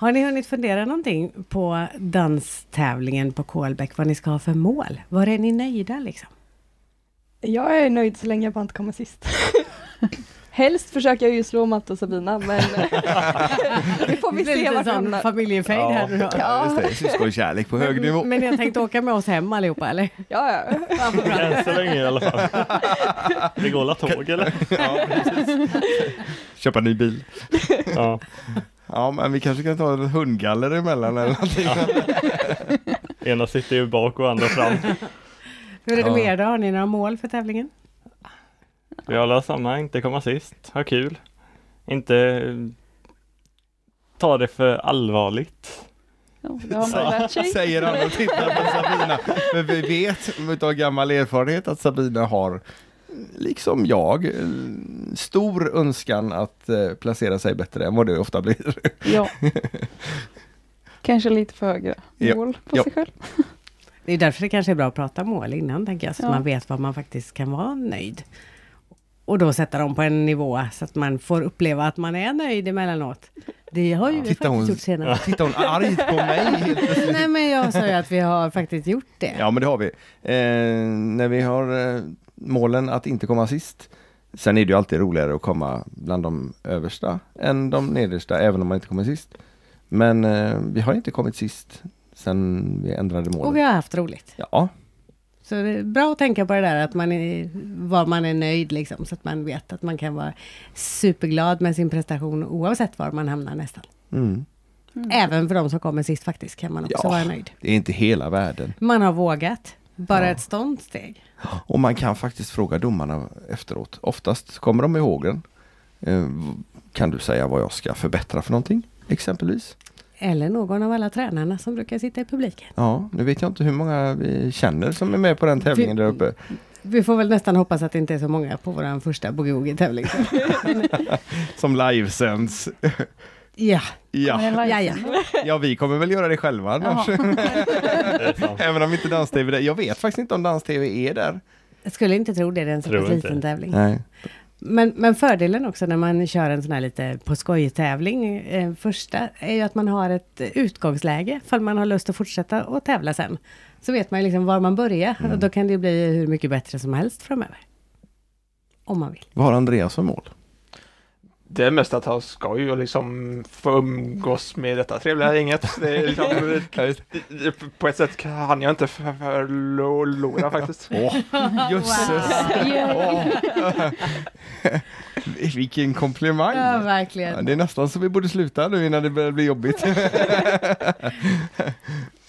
[SPEAKER 1] Har ni hunnit fundera någonting på danstävlingen på Kolbäck, vad ni ska ha för mål? Var är ni nöjda liksom?
[SPEAKER 5] Jag är nöjd så länge jag bara inte kommer sist. Helst försöker jag ju slå Matte och Sabina men det får vi
[SPEAKER 1] Det blir
[SPEAKER 5] se
[SPEAKER 1] lite
[SPEAKER 5] vart vi
[SPEAKER 1] sån
[SPEAKER 5] hamnar.
[SPEAKER 1] familjefejd här nu då.
[SPEAKER 5] Ja.
[SPEAKER 2] just det. Syskonkärlek på hög nivå.
[SPEAKER 1] Men, men ni har tänkt åka med oss hem allihopa eller?
[SPEAKER 5] Ja, ja.
[SPEAKER 1] Ja, vad bra.
[SPEAKER 3] Än så länge i alla fall. Det går alla tåg eller?
[SPEAKER 2] Köpa ny bil.
[SPEAKER 3] Ja.
[SPEAKER 2] Ja, men vi kanske kan ta en hundgaller emellan eller någonting.
[SPEAKER 3] Ena sitter ju bak och andra fram.
[SPEAKER 1] Hur är det
[SPEAKER 2] Ja.
[SPEAKER 1] med er då? Har ni några mål för tävlingen?
[SPEAKER 3] Vi har alla samma, inte komma sist, ha kul. Inte eh, ta det för allvarligt.
[SPEAKER 4] Ja, det har man lärt sig.
[SPEAKER 2] Säger han och tittar på Sabina. Men vi vet utav gammal erfarenhet att Sabina har, liksom jag, eh, stor önskan att eh, placera sig bättre än vad det ofta blir.
[SPEAKER 4] Ja. Kanske lite för högra
[SPEAKER 2] Ja.
[SPEAKER 4] mål på
[SPEAKER 2] Ja.
[SPEAKER 4] sig själv.
[SPEAKER 1] Det är därför det kanske är bra att prata mål innan, tänker jag, så att
[SPEAKER 4] Ja.
[SPEAKER 1] man vet vad man faktiskt kan vara nöjd. Och då sätta dem på en nivå så att man får uppleva att man är nöjd emellanåt. Det har ju vi
[SPEAKER 2] Titta,
[SPEAKER 1] faktiskt
[SPEAKER 2] hon-
[SPEAKER 1] gjort senare.
[SPEAKER 2] Tittar hon argt på mig helt plötsligt?
[SPEAKER 1] Nej, men jag sa ju att vi har faktiskt gjort det.
[SPEAKER 2] Ja men det har vi. Eh, när vi har eh, målen att inte komma sist. Sen är det ju alltid roligare att komma bland de översta än de nedersta även om man inte kommer sist. Men eh, vi har inte kommit sist sen vi ändrade målet.
[SPEAKER 1] Och vi har haft roligt.
[SPEAKER 2] Ja,
[SPEAKER 1] Så det är bra att tänka på det där att man är, var man är nöjd liksom, så att man vet att man kan vara superglad med sin prestation oavsett var man hamnar nästan.
[SPEAKER 2] mm.
[SPEAKER 1] Även för de som kommer sist faktiskt kan man också
[SPEAKER 2] Ja.
[SPEAKER 1] vara nöjd.
[SPEAKER 2] det är inte hela världen.
[SPEAKER 1] Man har vågat. Bara
[SPEAKER 2] Ja.
[SPEAKER 1] ett stånd steg.
[SPEAKER 2] Och man kan faktiskt fråga domarna efteråt. Oftast kommer de ihåg den. Eh, v- kan du säga vad jag ska förbättra för någonting? Exempelvis.
[SPEAKER 1] Eller någon av alla tränarna som brukar sitta i publiken.
[SPEAKER 2] Ja, nu vet jag inte hur många vi känner som är med på den tävlingen där uppe.
[SPEAKER 1] Vi får väl nästan hoppas att det inte är så många på vår första boogie-woogie-tävling.
[SPEAKER 2] Som livesänds.
[SPEAKER 1] ja,
[SPEAKER 4] Men
[SPEAKER 2] Ja.
[SPEAKER 4] en live-
[SPEAKER 1] ja, ja.
[SPEAKER 2] ja, vi kommer väl göra det själva
[SPEAKER 4] Jaha.
[SPEAKER 2] annars.
[SPEAKER 3] Det är sant.
[SPEAKER 2] Även om inte dans-tv är där. Jag vet faktiskt inte om dans-tv är där.
[SPEAKER 1] Jag skulle inte tro det, det är en så
[SPEAKER 3] Tror
[SPEAKER 1] pass
[SPEAKER 3] inte.
[SPEAKER 1] liten tävling.
[SPEAKER 2] Nej.
[SPEAKER 1] Men, men fördelen också när man kör en sån här lite på skoj-tävling, eh, första, är ju att man har ett eh, utgångsläge, ifall man har lust att fortsätta och tävla sen. Så vet man ju liksom var man börjar, och då kan det ju bli hur mycket bättre som helst framöver. Om man vill.
[SPEAKER 2] Vad har Andreas för mål?
[SPEAKER 6] Det är mest att ha skoj och liksom få umgås med detta trevliga gänget. Det är liksom, på ett sätt hann jag inte för- förlora faktiskt.
[SPEAKER 2] Åh, jösses! Åh. Vilken komplimang!
[SPEAKER 1] Ja,
[SPEAKER 2] Ja,
[SPEAKER 1] verkligen.
[SPEAKER 2] det är nästan så vi borde sluta nu innan det börjar bli jobbigt.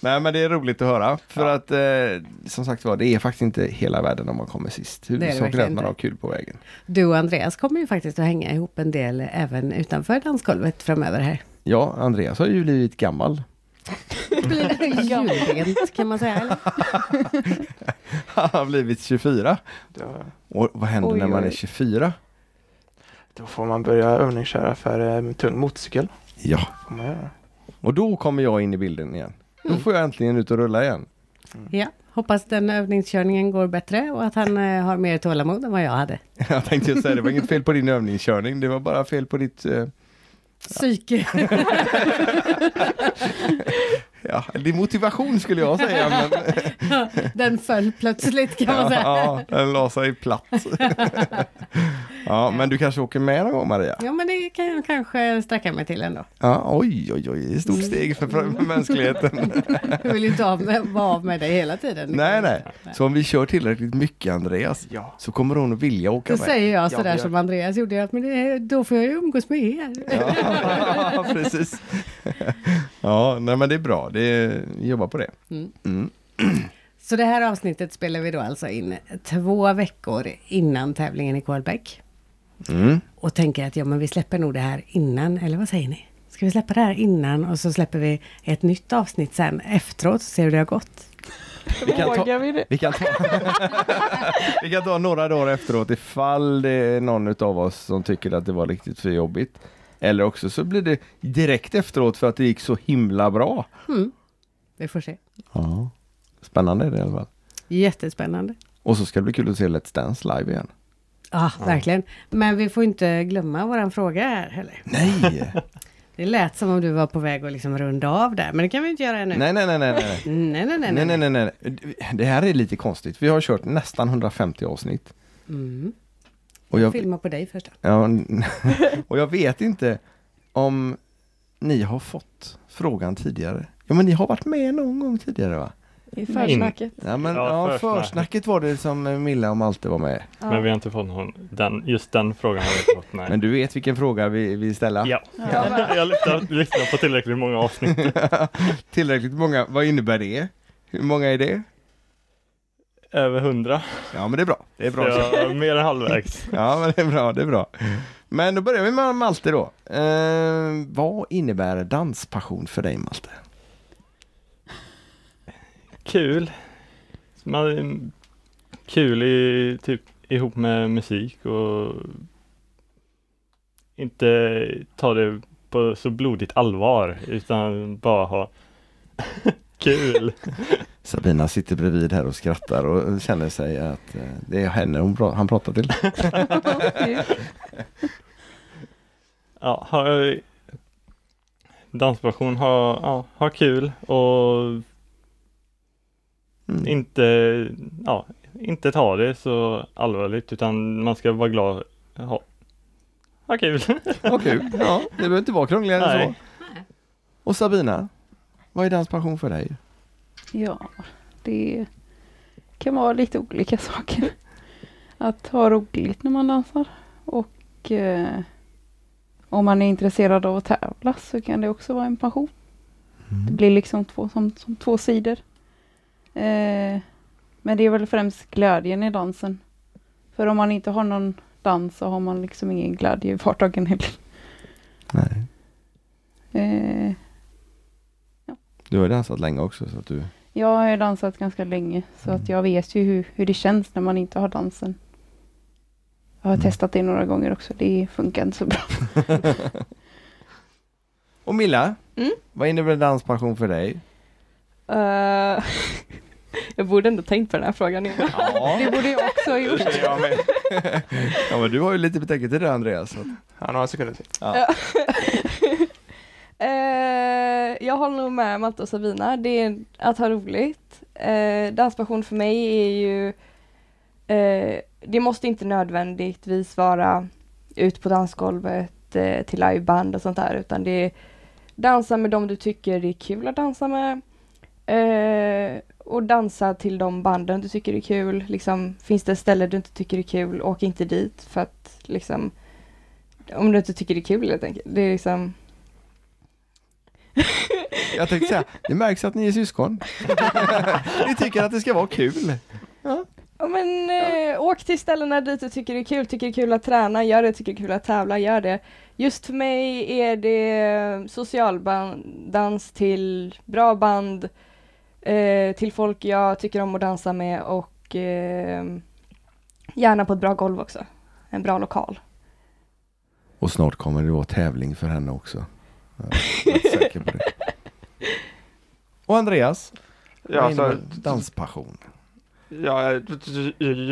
[SPEAKER 2] Nej men det är roligt att höra för att eh, som sagt var det är faktiskt inte hela världen om man kommer sist.
[SPEAKER 1] det
[SPEAKER 2] Huvudsaken är att
[SPEAKER 1] verkligen
[SPEAKER 2] man
[SPEAKER 1] inte.
[SPEAKER 2] har kul på vägen.
[SPEAKER 1] Du och Andreas kommer ju faktiskt att hänga ihop en del även utanför dansgolvet framöver här.
[SPEAKER 2] Ja, Andreas har ju blivit gammal.
[SPEAKER 1] Julbent kan man säga. Eller?
[SPEAKER 2] Han har blivit 24.
[SPEAKER 6] Då,
[SPEAKER 2] Och vad händer
[SPEAKER 4] Oj,
[SPEAKER 2] när man
[SPEAKER 4] oj.
[SPEAKER 2] är 24?
[SPEAKER 6] då får man börja övningsköra för eh, tung motorcykel.
[SPEAKER 2] Ja,
[SPEAKER 6] Får man göra.
[SPEAKER 2] och då kommer jag in i bilden igen. Då
[SPEAKER 1] Mm.
[SPEAKER 2] får jag äntligen ut och rulla igen.
[SPEAKER 1] Ja, hoppas den övningskörningen går bättre och att han eh, har mer tålamod än vad jag hade.
[SPEAKER 2] Jag tänkte ju säga det var inget fel på din övningskörning, det var bara fel på ditt eh,
[SPEAKER 1] Psyke.
[SPEAKER 2] Ja, din motivation skulle jag säga. Men,
[SPEAKER 1] Den föll plötsligt kan man
[SPEAKER 2] ja,
[SPEAKER 1] säga.
[SPEAKER 2] ja, den la sig platt. Ja, men du kanske åker med någon gång Maria?
[SPEAKER 1] Ja, men det kan jag kanske sträcka mig till ändå.
[SPEAKER 2] Ja, oj, oj, oj, det är ett
[SPEAKER 1] Mm.
[SPEAKER 2] stort steg för, för mänskligheten.
[SPEAKER 1] Jag vill ju inte av med, vara av med dig hela tiden.
[SPEAKER 2] nej, nej. Så om vi kör tillräckligt mycket Andreas,
[SPEAKER 6] Ja.
[SPEAKER 2] så kommer hon att vilja åka
[SPEAKER 1] Då
[SPEAKER 2] med.
[SPEAKER 1] säger jag
[SPEAKER 6] Ja,
[SPEAKER 1] sådär
[SPEAKER 6] det-
[SPEAKER 1] som Andreas gjorde, att men det, då får jag ju umgås med er.
[SPEAKER 2] Ja, precis. ja, nej men det är bra. Det är, jobba på det.
[SPEAKER 1] Mm.
[SPEAKER 2] Mm.
[SPEAKER 1] Så det här avsnittet spelar vi då alltså in två veckor innan tävlingen i Kolbäck.
[SPEAKER 2] Mm.
[SPEAKER 1] Och tänker att ja, men vi släpper nog det här innan, eller vad säger ni? Ska vi släppa det här innan och så släpper vi ett nytt avsnitt sen efteråt, så ser vi hur det har gått.
[SPEAKER 2] Vi kan ta-
[SPEAKER 4] Vågar vi det?
[SPEAKER 2] Vi kan, ta, vi kan ta några dagar efteråt ifall det är någon av oss som tycker att det var riktigt för jobbigt. Eller också så blir det direkt efteråt för att det gick så himla bra.
[SPEAKER 1] Hmm. Vi får se.
[SPEAKER 2] Ja. Spännande är det i alla fall.
[SPEAKER 1] Jättespännande.
[SPEAKER 2] Och så ska det bli kul att se Let's Dance live igen.
[SPEAKER 1] Ja, verkligen. Men vi får inte glömma våran fråga här heller.
[SPEAKER 2] Nej!
[SPEAKER 1] Det lät som om du var på väg att liksom runda av där, men det kan vi inte göra ännu.
[SPEAKER 2] nej, nej, nej, nej, nej.
[SPEAKER 1] nej, nej. nej,
[SPEAKER 2] Nej, nej, nej, nej. Det här är lite konstigt. Vi har kört nästan 150 avsnitt.
[SPEAKER 1] Mm.
[SPEAKER 2] Och jag,
[SPEAKER 1] Filma på dig först. då.
[SPEAKER 2] ja, och jag vet inte om ni har fått frågan tidigare. Ja, men ni har varit med någon gång tidigare va?
[SPEAKER 5] I försnacket.
[SPEAKER 2] Ja, men,
[SPEAKER 3] Ja,
[SPEAKER 2] ja,
[SPEAKER 3] försnacket.
[SPEAKER 2] försnacket var det som eh, Milla och Malte var med.
[SPEAKER 3] Men vi har inte fått någon, den, just den frågan har vi inte fått. Nej.
[SPEAKER 2] Men du vet vilken fråga vi vill ställa?
[SPEAKER 3] Ja, jag lyssnar, lyssnar på tillräckligt många avsnitt.
[SPEAKER 2] Tillräckligt många, vad innebär det? Hur många är det?
[SPEAKER 3] Över hundra.
[SPEAKER 2] Ja men det är bra. Det är bra.
[SPEAKER 3] Jag är mer än halvvägs.
[SPEAKER 2] Ja men det är bra, det är bra. Men då börjar vi med Malte då. Eh, vad innebär danspassion för dig Malte?
[SPEAKER 3] Kul. Man, kul i, typ, ihop med musik och inte ta det på så blodigt allvar utan bara ha kul.
[SPEAKER 2] Sabina sitter bredvid här och skrattar och känner sig att eh, det är henne hon pra- han pratar till.
[SPEAKER 3] Ja, ha, danspassion, ha, ja, ha kul och
[SPEAKER 2] Mm.
[SPEAKER 3] inte, ja, inte ta det så allvarligt utan man ska vara glad. Ha, ha kul!
[SPEAKER 2] Vad kul. Ja, det behöver inte vara krångligare än så.
[SPEAKER 3] Nej.
[SPEAKER 2] Och Sabina, vad är danspassion för dig?
[SPEAKER 4] Ja, det kan vara lite olika saker. Att ha roligt när man dansar och eh, om man är intresserad av att tävla så kan det också vara en passion. Det blir liksom två, som, som två sidor. Eh, men det är väl främst glädjen i dansen. För om man inte har någon dans så har man liksom ingen glädje i vardagen heller.
[SPEAKER 2] Nej.
[SPEAKER 4] Eh,
[SPEAKER 2] Du har dansat länge också så att du
[SPEAKER 4] jag har ju dansat ganska länge så
[SPEAKER 2] Mm.
[SPEAKER 4] att jag vet ju hur, hur det känns när man inte har dansen. Jag har
[SPEAKER 2] Mm.
[SPEAKER 4] testat det några gånger också. Det funkar inte så bra.
[SPEAKER 2] Och Milla,
[SPEAKER 5] Mm.
[SPEAKER 2] vad innebär danspassion för dig?
[SPEAKER 5] Eh, jag borde ändå tänkt på den här frågan innan.
[SPEAKER 2] Ja,
[SPEAKER 5] Det borde jag också ha gjort.
[SPEAKER 6] Det är jag med.
[SPEAKER 2] ja men du har ju lite betänketid där Andreas. så att-
[SPEAKER 6] Han har en sekund till.
[SPEAKER 5] Eh, jag håller nog med Malte och Sabina. Det är att ha roligt. Eh, danspassion för mig är ju eh, Det måste inte nödvändigtvis vara ut på dansgolvet eh, till liveband och sånt där utan det är dansa med dem du tycker det är kul att dansa med eh, och dansa till de banden du tycker är kul. Liksom, finns det ställen du inte tycker är kul, åk inte dit för att liksom om du inte tycker det är kul helt enkelt. Det är liksom
[SPEAKER 2] Jag tänkte säga, det märks att ni är syskon. ni tycker att det ska vara kul.
[SPEAKER 5] Ja men eh, åk till ställena dit du tycker det är kul, tycker det är kul att träna, gör det, tycker det är kul att tävla, gör det. Just för mig är det socialdans till bra band, eh, till folk jag tycker om att dansa med och eh, gärna på ett bra golv också. En bra lokal.
[SPEAKER 2] Och snart kommer det vara tävling för henne också. Jag är rätt säker på det. Och Andreas,
[SPEAKER 6] Ja,
[SPEAKER 2] vad
[SPEAKER 6] alltså,
[SPEAKER 2] innebär danspassion?
[SPEAKER 6] Ja,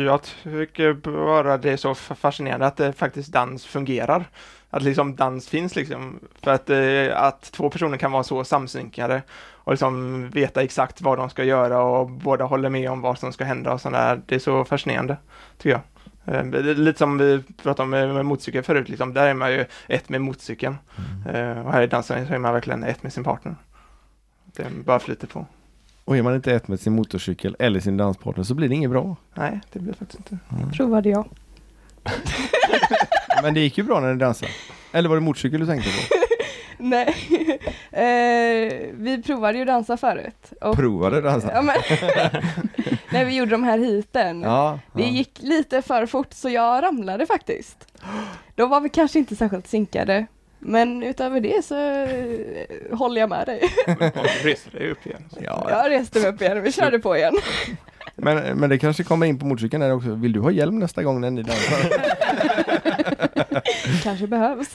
[SPEAKER 6] jag tycker bara det är så f- fascinerande att det faktiskt dans fungerar. Att liksom dans finns liksom. För att, eh, att två personer kan vara så samsynkade och liksom veta exakt vad de ska göra och båda håller med om vad som ska hända och sådär. Det är så fascinerande, tycker jag. Eh, det är lite som vi pratade om med, med motorcykeln förut, liksom, där är man ju ett med motorcykeln. Eh, och här i dansen så är man verkligen ett med sin partner. Det bara flyter på.
[SPEAKER 2] Och är man inte ett med sin motorcykel eller sin danspartner så blir det inget bra.
[SPEAKER 6] Nej, det blir faktiskt inte.
[SPEAKER 5] Provade jag.
[SPEAKER 2] Men det gick ju bra när ni dansade. Eller var det motorcykel du tänkte på?
[SPEAKER 5] Nej. Eh, vi provade ju dansa förut. Och,
[SPEAKER 2] Provade du dansa?
[SPEAKER 5] ja, men, när vi gjorde de här heaten.
[SPEAKER 2] Alltså. Ja,
[SPEAKER 5] Det
[SPEAKER 2] ja.
[SPEAKER 5] gick lite för fort så jag ramlade faktiskt. Då var vi kanske inte särskilt synkade. Men utöver det så eh, håller jag med dig.
[SPEAKER 6] Och reser dig upp igen.
[SPEAKER 2] Ja.
[SPEAKER 5] Jag reste mig upp igen och vi körde på igen.
[SPEAKER 2] Men, men det kanske kommer in på motorcykeln där också. Vill du ha hjälm nästa gång när ni dansar?
[SPEAKER 5] kanske behövs.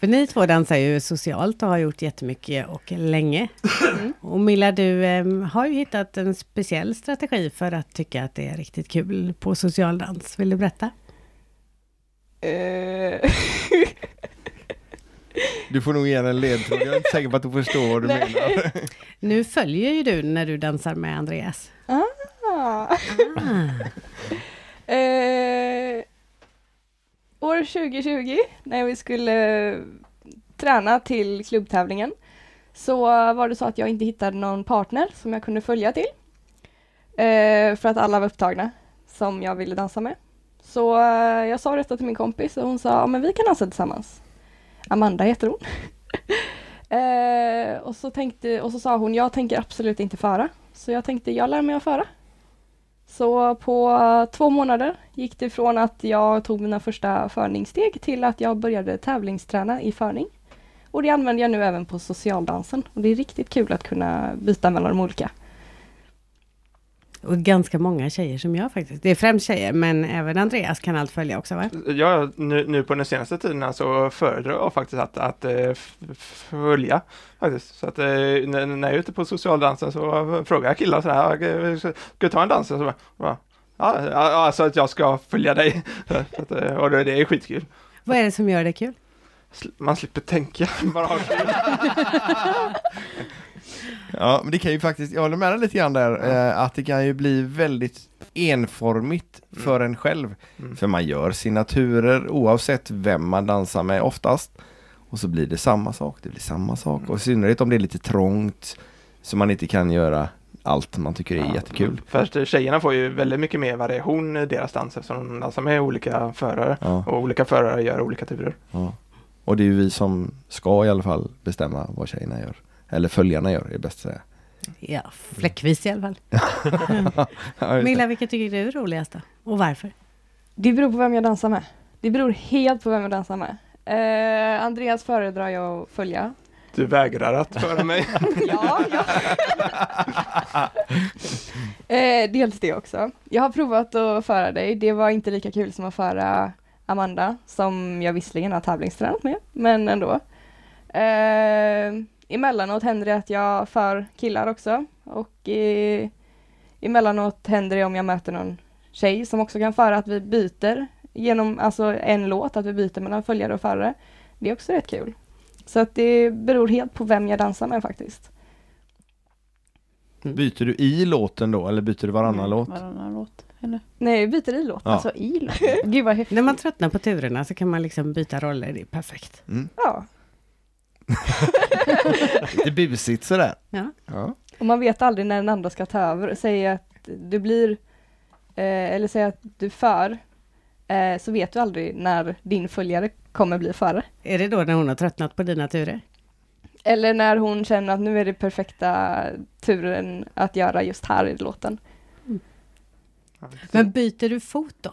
[SPEAKER 1] För ni två dansar ju socialt och har gjort jättemycket och länge. Och Milla, du em, har ju hittat en speciell strategi för att tycka att det är riktigt kul på social dans. Vill du berätta?
[SPEAKER 5] Eh,
[SPEAKER 2] Du får nog ge en ledtråd. Jag är inte säker på att du förstår vad du
[SPEAKER 5] Nej.
[SPEAKER 2] menar.
[SPEAKER 1] Nu följer ju du när du dansar med Andreas.
[SPEAKER 5] ah. Eh, år 2020 när vi skulle träna till klubbtävlingen så var det så att jag inte hittade någon partner som jag kunde följa till. Eh, för att alla var upptagna som jag ville dansa med. Så eh, jag sa detta till min kompis och hon sa "Ja, men vi kan dansa tillsammans. Amanda heter hon. eh, och, så tänkte, och så sa hon jag tänker absolut inte föra. Så jag tänkte jag lär mig att föra. Så på eh, två månader gick det från att jag tog mina första förningssteg till att jag började tävlingsträna i förning. Och det använder jag nu även på socialdansen. Och det är riktigt kul att kunna byta mellan de olika.
[SPEAKER 1] Och ganska många tjejer som jag faktiskt. Det är främst tjejer, men även Andreas kan allt följa också va?
[SPEAKER 6] Ja, nu, nu på den senaste tiden så föredrar jag faktiskt att, att eh, f- f- följa. Faktiskt. Så att eh, när när jag är ute på socialdansen så frågar jag killar sådär, "Ja, ska du ta en dans? Och Så bara, bara, ja, ja, alltså att jag ska följa dig. Så att, eh, och det det är skitkul.
[SPEAKER 1] Vad är det som gör det kul?
[SPEAKER 6] Sl- Man slipper tänka, bara ha kul.
[SPEAKER 2] Ja, men det kan ju faktiskt, jag håller med dig lite grann där, eh, att det kan ju bli väldigt enformigt för en själv.
[SPEAKER 6] Mm.
[SPEAKER 2] För man gör signaturer oavsett vem man dansar med oftast. Och så blir det samma sak, det blir samma sak. Och i synnerhet om det är lite trångt så man inte kan göra allt man tycker är jättekul.
[SPEAKER 6] Först, eh, tjejerna får ju väldigt mycket mer variation i deras dans eftersom de dansar med olika förare.
[SPEAKER 2] Ja,
[SPEAKER 6] Och olika förare gör olika turer.
[SPEAKER 2] ja. Och det är ju vi som ska i alla fall bestämma vad tjejerna gör. Eller följarna gör, är bäst att säga.
[SPEAKER 1] Ja, fläckvis i alla fall.
[SPEAKER 2] Ja, just det.
[SPEAKER 1] Milla, vilket tycker du är roligast då? Och varför?
[SPEAKER 5] Det beror på vem jag dansar med. Det beror helt på vem jag dansar med. Eh, Andreas föredrar jag att följa.
[SPEAKER 6] Du vägrar att föra mig.
[SPEAKER 5] ja, ja. eh, dels det också. Jag har provat att föra dig. Det var inte lika kul som att föra Amanda, som jag visserligen har tävlingstränat med, men ändå. Eh, emellanåt händer det att jag för killar också och eh, emellanåt händer det om jag möter någon tjej som också kan föra att vi byter genom alltså en låt, att vi byter mellan följare och förare. Det är också rätt kul. Så att det beror helt på vem jag dansar med faktiskt.
[SPEAKER 2] Byter du i låten då, eller byter du varannan
[SPEAKER 4] Mm.
[SPEAKER 2] låt?
[SPEAKER 4] Varannan låt. Eller?
[SPEAKER 5] Nej, jag byter i låt.
[SPEAKER 2] Ja.
[SPEAKER 5] Alltså i låt. Gud vad häftigt.
[SPEAKER 1] När man tröttnar på turerna så kan man liksom byta roller, det är perfekt.
[SPEAKER 2] Mm.
[SPEAKER 5] Ja.
[SPEAKER 2] Lite busigt sådär.
[SPEAKER 1] Ja.
[SPEAKER 2] Ja.
[SPEAKER 5] Och man vet aldrig när den andra ska ta över. Säg att du blir, eh, eller säg att du för, eh, så vet du aldrig när din följare kommer bli före.
[SPEAKER 1] Är det då när hon har tröttnat på dina turer?
[SPEAKER 5] Eller när hon känner att nu är det perfekta turen att göra just här i låten.
[SPEAKER 1] Men byter du fot då?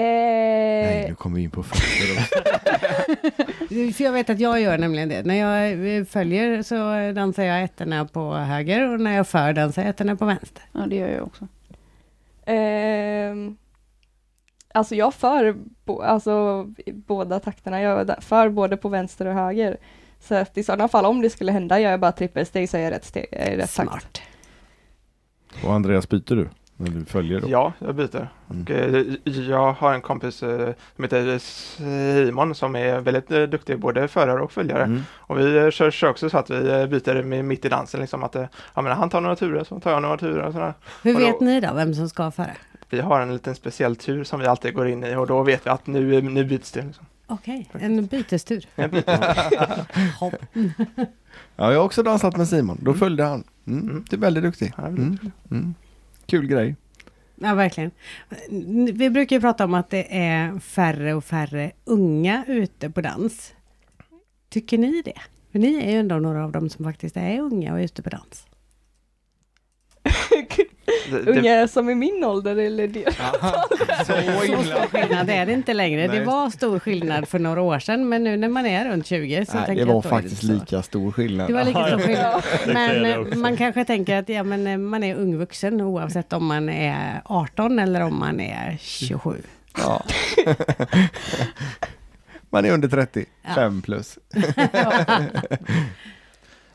[SPEAKER 5] Eh,
[SPEAKER 2] Nej, nu kommer vi in på fötter. också.
[SPEAKER 1] För jag vet att jag gör nämligen det. När jag eh, följer så dansar jag ettorna på höger och när jag för dansar jag ettorna på vänster.
[SPEAKER 4] Ja, det gör jag också.
[SPEAKER 5] Ehm, alltså jag för bo, alltså, i båda takterna, jag da- för både på vänster och höger. Så att i sådana fall om det skulle hända gör jag bara trippelsteg så är jag rätt, steg, eh, rätt takt.
[SPEAKER 1] Smart.
[SPEAKER 2] Och Andreas byter du? När du följer då?
[SPEAKER 6] Ja, jag byter.
[SPEAKER 2] Mm.
[SPEAKER 6] Och, eh, jag har en kompis eh, som heter Simon som är väldigt eh, duktig både förare och följare.
[SPEAKER 2] Mm.
[SPEAKER 6] Och vi eh, kör, kör också så att vi eh, byter med, mitt i dansen liksom att eh, ja, men han tar några turer så tar jag några turer och sådär.
[SPEAKER 1] Hur
[SPEAKER 6] Och då-
[SPEAKER 1] vet ni då vem som ska föra?
[SPEAKER 6] vi har en liten speciell tur som vi alltid går in i och då vet vi att nu, nu byts det. Liksom.
[SPEAKER 1] Okej, en bytestur. Hopp.
[SPEAKER 2] Ja, jag har också dansat med Simon. Då följde han. Mm. Du är väldigt duktig.
[SPEAKER 6] Ja, det blir
[SPEAKER 2] Mm. Mm. Kul grej.
[SPEAKER 1] Ja, verkligen. N- Vi brukar ju prata om att det är färre och färre unga ute på dans. Tycker ni det? För ni är ju ändå några av dem som faktiskt är unga och ute på dans.
[SPEAKER 6] Det, det,
[SPEAKER 5] Unga som är min ålder eller det.
[SPEAKER 1] Så stor skillnad är det inte längre.
[SPEAKER 2] Nej.
[SPEAKER 1] Det var stor skillnad för några år sedan, men nu när man är runt 20 så
[SPEAKER 2] Nej,
[SPEAKER 1] tänker
[SPEAKER 2] det
[SPEAKER 1] jag
[SPEAKER 2] var
[SPEAKER 1] att då är
[SPEAKER 2] faktiskt
[SPEAKER 1] inte så.
[SPEAKER 2] lika stor skillnad.
[SPEAKER 1] Det var lika stor skillnad.
[SPEAKER 3] det
[SPEAKER 1] Men
[SPEAKER 3] det
[SPEAKER 1] eh,
[SPEAKER 3] också.
[SPEAKER 1] man kanske tänker att ja, men eh, man är ung vuxen oavsett om man är 18 eller om man är 27.
[SPEAKER 2] Ja. Man är under 30,
[SPEAKER 1] Ja.
[SPEAKER 2] 5 plus.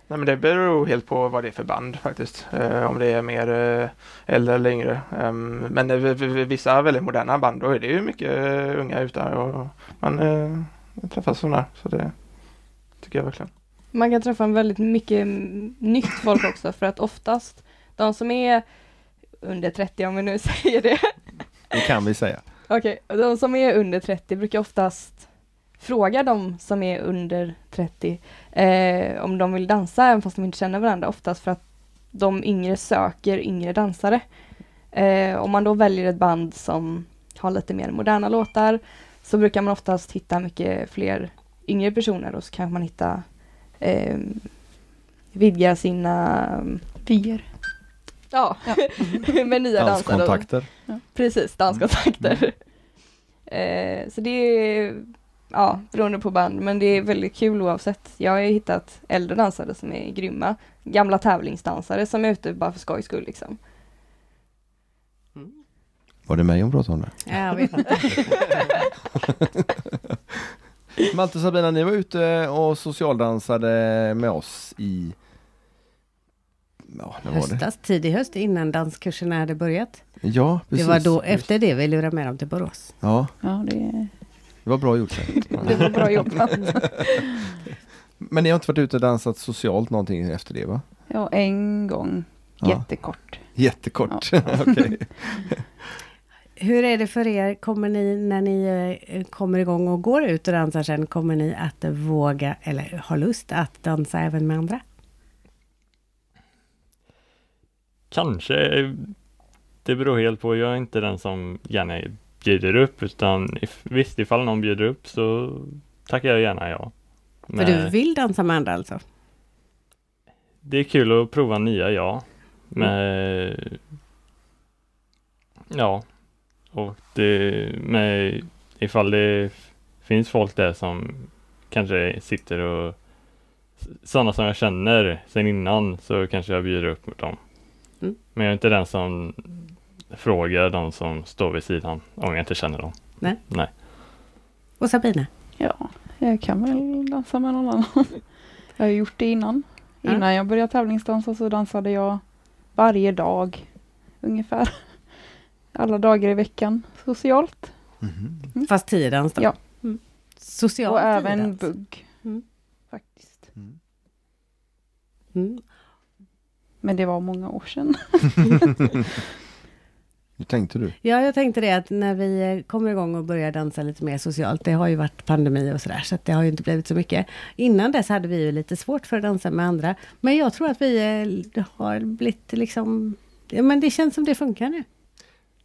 [SPEAKER 6] nej, men det beror helt på vad det är för band faktiskt. Eh, om det är mer eh, äldre eller yngre. Ehm, men eh, v- v- vissa väldigt moderna band, då är det ju mycket eh, unga ute här och man eh, träffas sådana. Så det tycker jag verkligen.
[SPEAKER 5] Man kan träffa väldigt mycket mm, nytt folk också för att oftast de som är under 30 om vi nu säger det.
[SPEAKER 2] Det kan vi säga.
[SPEAKER 5] Okej, och de som är under 30 brukar oftast fråga de som är under 30 eh, om de vill dansa även fast de inte känner varandra oftast för att de yngre söker yngre dansare. Eh, om man då väljer ett band som har lite mer moderna låtar så brukar man oftast hitta mycket fler yngre personer och så kanske man hitta eh, vidga sina
[SPEAKER 4] Vier.
[SPEAKER 5] ja, med nya dansare. och-
[SPEAKER 2] Danskontakter.
[SPEAKER 5] Presis, danskontakter. Eh, så det är, ja, beroende på band, men det är väldigt kul oavsett. Jag har ju hittat äldre dansare som är grymma. Gamla tävlingsdansare som är ute bara för skojs skull liksom.
[SPEAKER 2] Var det mig hon pratade om? Det?
[SPEAKER 1] Ja, jag vet inte.
[SPEAKER 2] Malte och Sabina, ni var ute och socialdansade med oss i... Ja, när var det?
[SPEAKER 1] Höstas, tidig höst innan danskurserna hade börjat.
[SPEAKER 2] Ja, precis.
[SPEAKER 1] Det var då efter det vi lurade med dem till Borås.
[SPEAKER 2] Ja,
[SPEAKER 4] Ja, det,
[SPEAKER 2] det var bra gjort. sig.
[SPEAKER 4] det var bra jobbat.
[SPEAKER 2] Men ni har inte varit ute och dansat socialt någonting efter det va?
[SPEAKER 4] Ja, en gång.
[SPEAKER 2] Ja.
[SPEAKER 4] Jättekort.
[SPEAKER 2] Jättekort. Okej.
[SPEAKER 1] Hur är det för er? Kommer ni, när ni eh, kommer igång och går ut och dansar sen, kommer ni att våga eller ha lust att dansa även med andra?
[SPEAKER 3] Kanske. eh, Det beror helt på. Jag är inte den som gärna bjuder upp utan if, visst, ifall någon bjuder upp så tackar jag gärna ja.
[SPEAKER 1] För
[SPEAKER 3] Men
[SPEAKER 1] du vill dansa med andra alltså?
[SPEAKER 3] det är kul att prova nya ja. Men ja, och det med ifall det f- finns folk där som kanske sitter och s- sådana som jag känner sen innan så kanske jag bjuder upp mot dem.
[SPEAKER 1] Mm.
[SPEAKER 3] Men jag är inte den som frågar de som står vid sidan om jag inte känner dem.
[SPEAKER 1] Och Sabina?
[SPEAKER 4] Ja, jag kan väl dansa med någon annan. Jag har ju gjort det innan.
[SPEAKER 1] Ja.
[SPEAKER 4] Innan jag började tävlingsdansa så dansade jag varje dag ungefär. Alla dagar i veckan socialt.
[SPEAKER 2] Mhm.
[SPEAKER 1] Fast tiodans då?
[SPEAKER 4] Ja.
[SPEAKER 1] Mm. Social
[SPEAKER 4] och även
[SPEAKER 1] tiodans.
[SPEAKER 4] bugg.
[SPEAKER 1] Mm.
[SPEAKER 4] Faktiskt.
[SPEAKER 2] Mm.
[SPEAKER 1] Mm.
[SPEAKER 4] Men det var många år sedan.
[SPEAKER 2] Hur tänkte du?
[SPEAKER 1] Ja, jag tänkte det att när vi eh, kommer igång och börjar dansa lite mer socialt, det har ju varit pandemi och sådär, så att det har ju inte blivit så mycket. Innan dess hade vi ju lite svårt för att dansa med andra, men jag tror att vi eh, har blivit liksom Ja, men det känns som det funkar nu.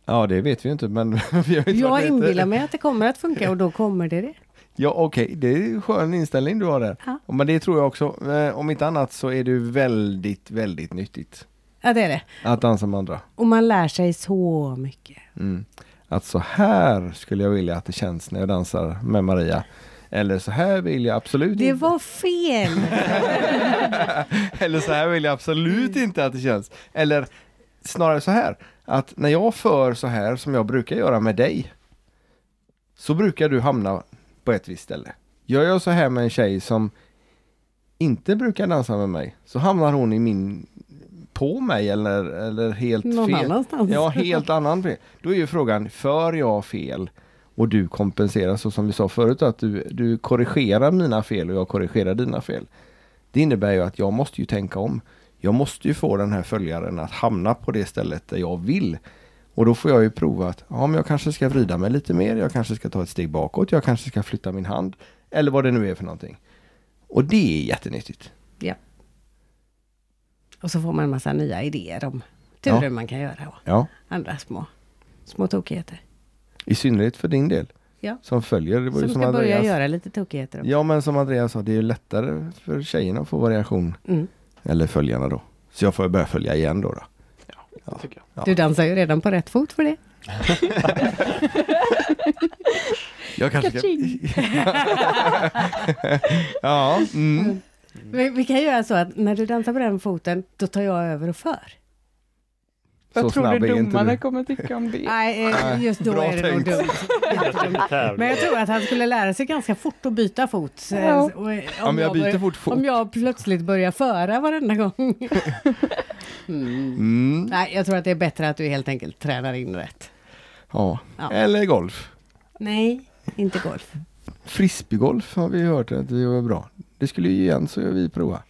[SPEAKER 2] Ja, det vet vi ju inte men vi har ju inte varit
[SPEAKER 1] Jag
[SPEAKER 2] ute.
[SPEAKER 1] inbillar mig att det kommer att funka och då kommer det det.
[SPEAKER 2] Ja okej, det är en skön inställning du har där.
[SPEAKER 1] Ja.
[SPEAKER 2] Men det tror jag också. Eh, Om inte annat så är det ju väldigt, väldigt nyttigt
[SPEAKER 1] Ja, det är det.
[SPEAKER 2] att dansa med andra.
[SPEAKER 1] Och man lär sig så mycket.
[SPEAKER 2] Mm. Att så här skulle jag vilja att det känns när jag dansar med Maria. Eller så här vill jag absolut
[SPEAKER 1] Det
[SPEAKER 2] inte.
[SPEAKER 1] var fel!
[SPEAKER 2] Eller så här vill jag absolut inte att det känns. Eller snarare så här, att när jag för så här som jag brukar göra med dig, så brukar du hamna på ett visst ställe. Gör jag så här med en tjej som inte brukar dansa med mig, så hamnar hon i min, på mig eller, eller helt
[SPEAKER 1] Någon
[SPEAKER 2] fel.
[SPEAKER 1] annanstans.
[SPEAKER 2] Ja, helt annan fel. Då är ju frågan, för jag fel och du kompenserar så som vi sa förut att du, du korrigerar mina fel och jag korrigerar dina fel. Det innebär ju att jag måste ju tänka om. Jag måste ju få den här följaren att hamna på det stället där jag vill. Och då får jag ju prova att ja, men jag kanske ska vrida mig lite mer, jag kanske ska ta ett steg bakåt, jag kanske ska flytta min hand. Eller vad det nu är för någonting. Och det är jättenyttigt.
[SPEAKER 1] Och så får man en massa nya idéer om turer
[SPEAKER 2] Ja.
[SPEAKER 1] man kan göra och
[SPEAKER 2] Ja.
[SPEAKER 1] andra små, små tokigheter.
[SPEAKER 2] I synnerhet för din del.
[SPEAKER 1] Ja.
[SPEAKER 2] Som följer. Det var
[SPEAKER 1] Som
[SPEAKER 2] ju som
[SPEAKER 1] ska börja
[SPEAKER 2] Andreas.
[SPEAKER 1] göra lite tokigheter. också.
[SPEAKER 2] Ja men som Andreas sa, det är ju lättare för tjejerna att få variation.
[SPEAKER 1] Mm.
[SPEAKER 2] Eller följarna då. Så jag får börja följa igen då. då.
[SPEAKER 6] det tycker jag.
[SPEAKER 2] Ja.
[SPEAKER 1] Du dansar ju redan på rätt fot för det.
[SPEAKER 2] Jag kanske ska... ja, mm.
[SPEAKER 1] Vi, vi kan göra så att när du dansar på den foten, då tar jag över och för.
[SPEAKER 4] Vad
[SPEAKER 2] Så
[SPEAKER 4] tror
[SPEAKER 2] snabb
[SPEAKER 4] du
[SPEAKER 2] är inte
[SPEAKER 4] domarna
[SPEAKER 2] du.
[SPEAKER 4] kommer tycka om det?
[SPEAKER 1] Nej, eh, just då
[SPEAKER 2] Bra
[SPEAKER 1] är det nog
[SPEAKER 2] tänkt.
[SPEAKER 1] dumt. Men jag tror att han skulle lära sig ganska fort att byta fot. Så-
[SPEAKER 4] Ja.
[SPEAKER 1] och- Om,
[SPEAKER 2] ja, men jag byter
[SPEAKER 1] börjar,
[SPEAKER 2] fort fot.
[SPEAKER 1] om jag plötsligt börjar föra varenda gång. Mm.
[SPEAKER 2] Mm.
[SPEAKER 1] Nej, jag tror att det är bättre att du helt enkelt tränar in rätt.
[SPEAKER 2] Ja.
[SPEAKER 1] Ja.
[SPEAKER 2] Eller golf.
[SPEAKER 1] Nej, inte golf.
[SPEAKER 2] Frisbeegolf har vi hört att det var bra. Det skulle ju igen så vi prova.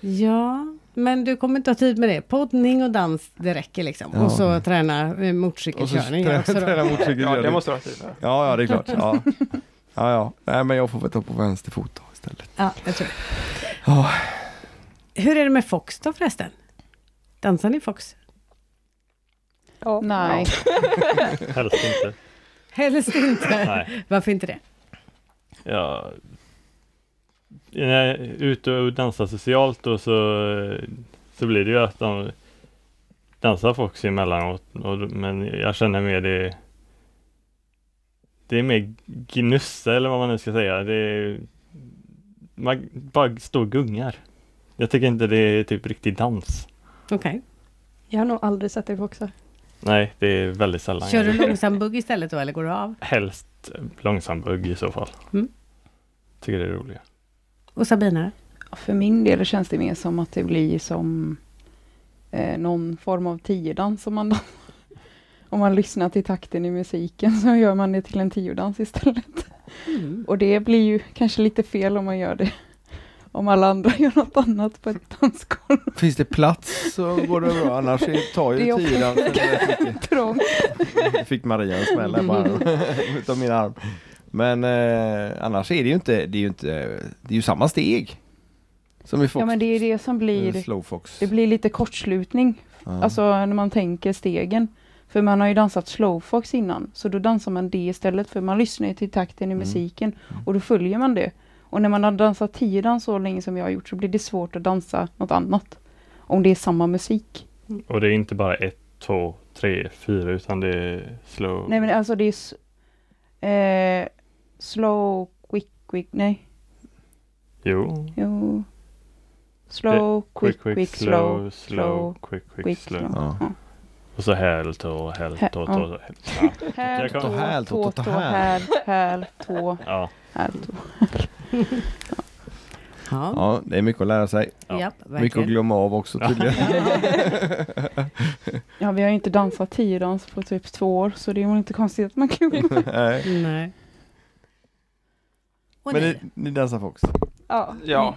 [SPEAKER 1] Ja, men du kommer inte ha tid med det. Poddning och dans, det räcker liksom.
[SPEAKER 2] Ja.
[SPEAKER 1] Och så träna eh,
[SPEAKER 2] Och så
[SPEAKER 1] motorcykelkörning
[SPEAKER 2] träna,
[SPEAKER 1] också Alltså då.
[SPEAKER 2] träna motorcykel.
[SPEAKER 6] Ja, det
[SPEAKER 2] gör
[SPEAKER 6] måste vara tid.
[SPEAKER 2] Ja, ja, det är klart. Ja. Ja, ja. Nej, men jag får väl ta på vänster fot då istället.
[SPEAKER 1] Ja, jag tror det.
[SPEAKER 2] Ja.
[SPEAKER 1] Hur är det med Fox då förresten? Dansar ni Fox?
[SPEAKER 5] Ja.
[SPEAKER 4] Nej.
[SPEAKER 3] Helst inte.
[SPEAKER 1] Helst inte.
[SPEAKER 3] Nej.
[SPEAKER 1] Varför inte det?
[SPEAKER 3] Ja. När jag är ute och dansar socialt då så, så blir det ju att de dansar folk emellanåt. Och, men jag känner mer det Det är mer gnussa eller vad man nu ska säga. Det är, man bara står och gungar. Jag tycker inte det är typ riktig dans.
[SPEAKER 1] Okej.
[SPEAKER 5] Jag har nog aldrig sett dig också.
[SPEAKER 3] Nej, det är väldigt sällan.
[SPEAKER 1] Kör du
[SPEAKER 3] jag-
[SPEAKER 1] långsam bugg istället då eller går du av?
[SPEAKER 3] Helst långsam bugg i så fall.
[SPEAKER 1] Mm.
[SPEAKER 3] Tycker det är roligt.
[SPEAKER 1] Och Sabina?
[SPEAKER 4] För min del känns det mer som att det blir som eh, någon form av tiodans. Om man, om man lyssnar till takten i musiken så gör man det till en tiodans istället. Och det blir ju kanske lite fel om man gör det. Om alla andra gör något annat på ett dansgolv.
[SPEAKER 2] Finns det plats så går det bra. Annars tar
[SPEAKER 4] Det är
[SPEAKER 2] ju
[SPEAKER 4] också-
[SPEAKER 2] tiodansen rätt mycket. Mm,
[SPEAKER 4] Trång. Mm.
[SPEAKER 2] Fick Maria en smäll här på armen, utav min arm. Men eh, annars är det ju inte, det är ju inte, det är ju samma steg. Som i Fox,
[SPEAKER 4] Ja men det är det som
[SPEAKER 2] eh,
[SPEAKER 4] blir,
[SPEAKER 2] Slow Fox.
[SPEAKER 4] det blir lite kortslutning.
[SPEAKER 2] ja.
[SPEAKER 4] Alltså när man tänker stegen. För man har ju dansat slowfox innan, så då dansar man det istället för man lyssnar ju till takten i
[SPEAKER 2] Mm.
[SPEAKER 4] musiken
[SPEAKER 2] Mm.
[SPEAKER 4] och då följer man det. Och när man har dansat tiodans så länge som jag har gjort så blir det svårt att dansa något annat. Om det är samma musik.
[SPEAKER 3] Och det är inte bara ett, två, tre, fyra utan det är slow.
[SPEAKER 4] Nej men alltså det är s- eh, slow, quick, quick, nej,
[SPEAKER 3] Jo.
[SPEAKER 4] jo. Slow, quick, quick, slow, slow,
[SPEAKER 3] quick, quick,
[SPEAKER 4] quick,
[SPEAKER 3] slow.
[SPEAKER 4] slow.
[SPEAKER 2] Ja.
[SPEAKER 3] Och så häl, tå, häl,
[SPEAKER 4] Hä-
[SPEAKER 3] tå,
[SPEAKER 4] ja.
[SPEAKER 3] tå, häl. Ja.
[SPEAKER 4] Häl,
[SPEAKER 3] Jag kan-
[SPEAKER 4] tå,
[SPEAKER 2] Häl, tå,
[SPEAKER 4] tå,
[SPEAKER 2] tå,
[SPEAKER 4] tå,
[SPEAKER 2] häl.
[SPEAKER 4] häl, häl, tå,
[SPEAKER 3] ja.
[SPEAKER 4] häl, tå.
[SPEAKER 1] Ja,
[SPEAKER 2] ja, det är mycket att lära sig.
[SPEAKER 3] Ja.
[SPEAKER 1] Japp,
[SPEAKER 2] Mycket att
[SPEAKER 1] verkligen.
[SPEAKER 2] glömma av också tydligen.
[SPEAKER 4] Ja, vi har ju inte dansat tiodans på typ två år, så det är väl inte konstigt att man glömmer.
[SPEAKER 2] Nej.
[SPEAKER 1] Nej. Och
[SPEAKER 2] Men
[SPEAKER 1] ni?
[SPEAKER 2] ni, ni dansar Fox?
[SPEAKER 4] Ja.
[SPEAKER 6] Ja,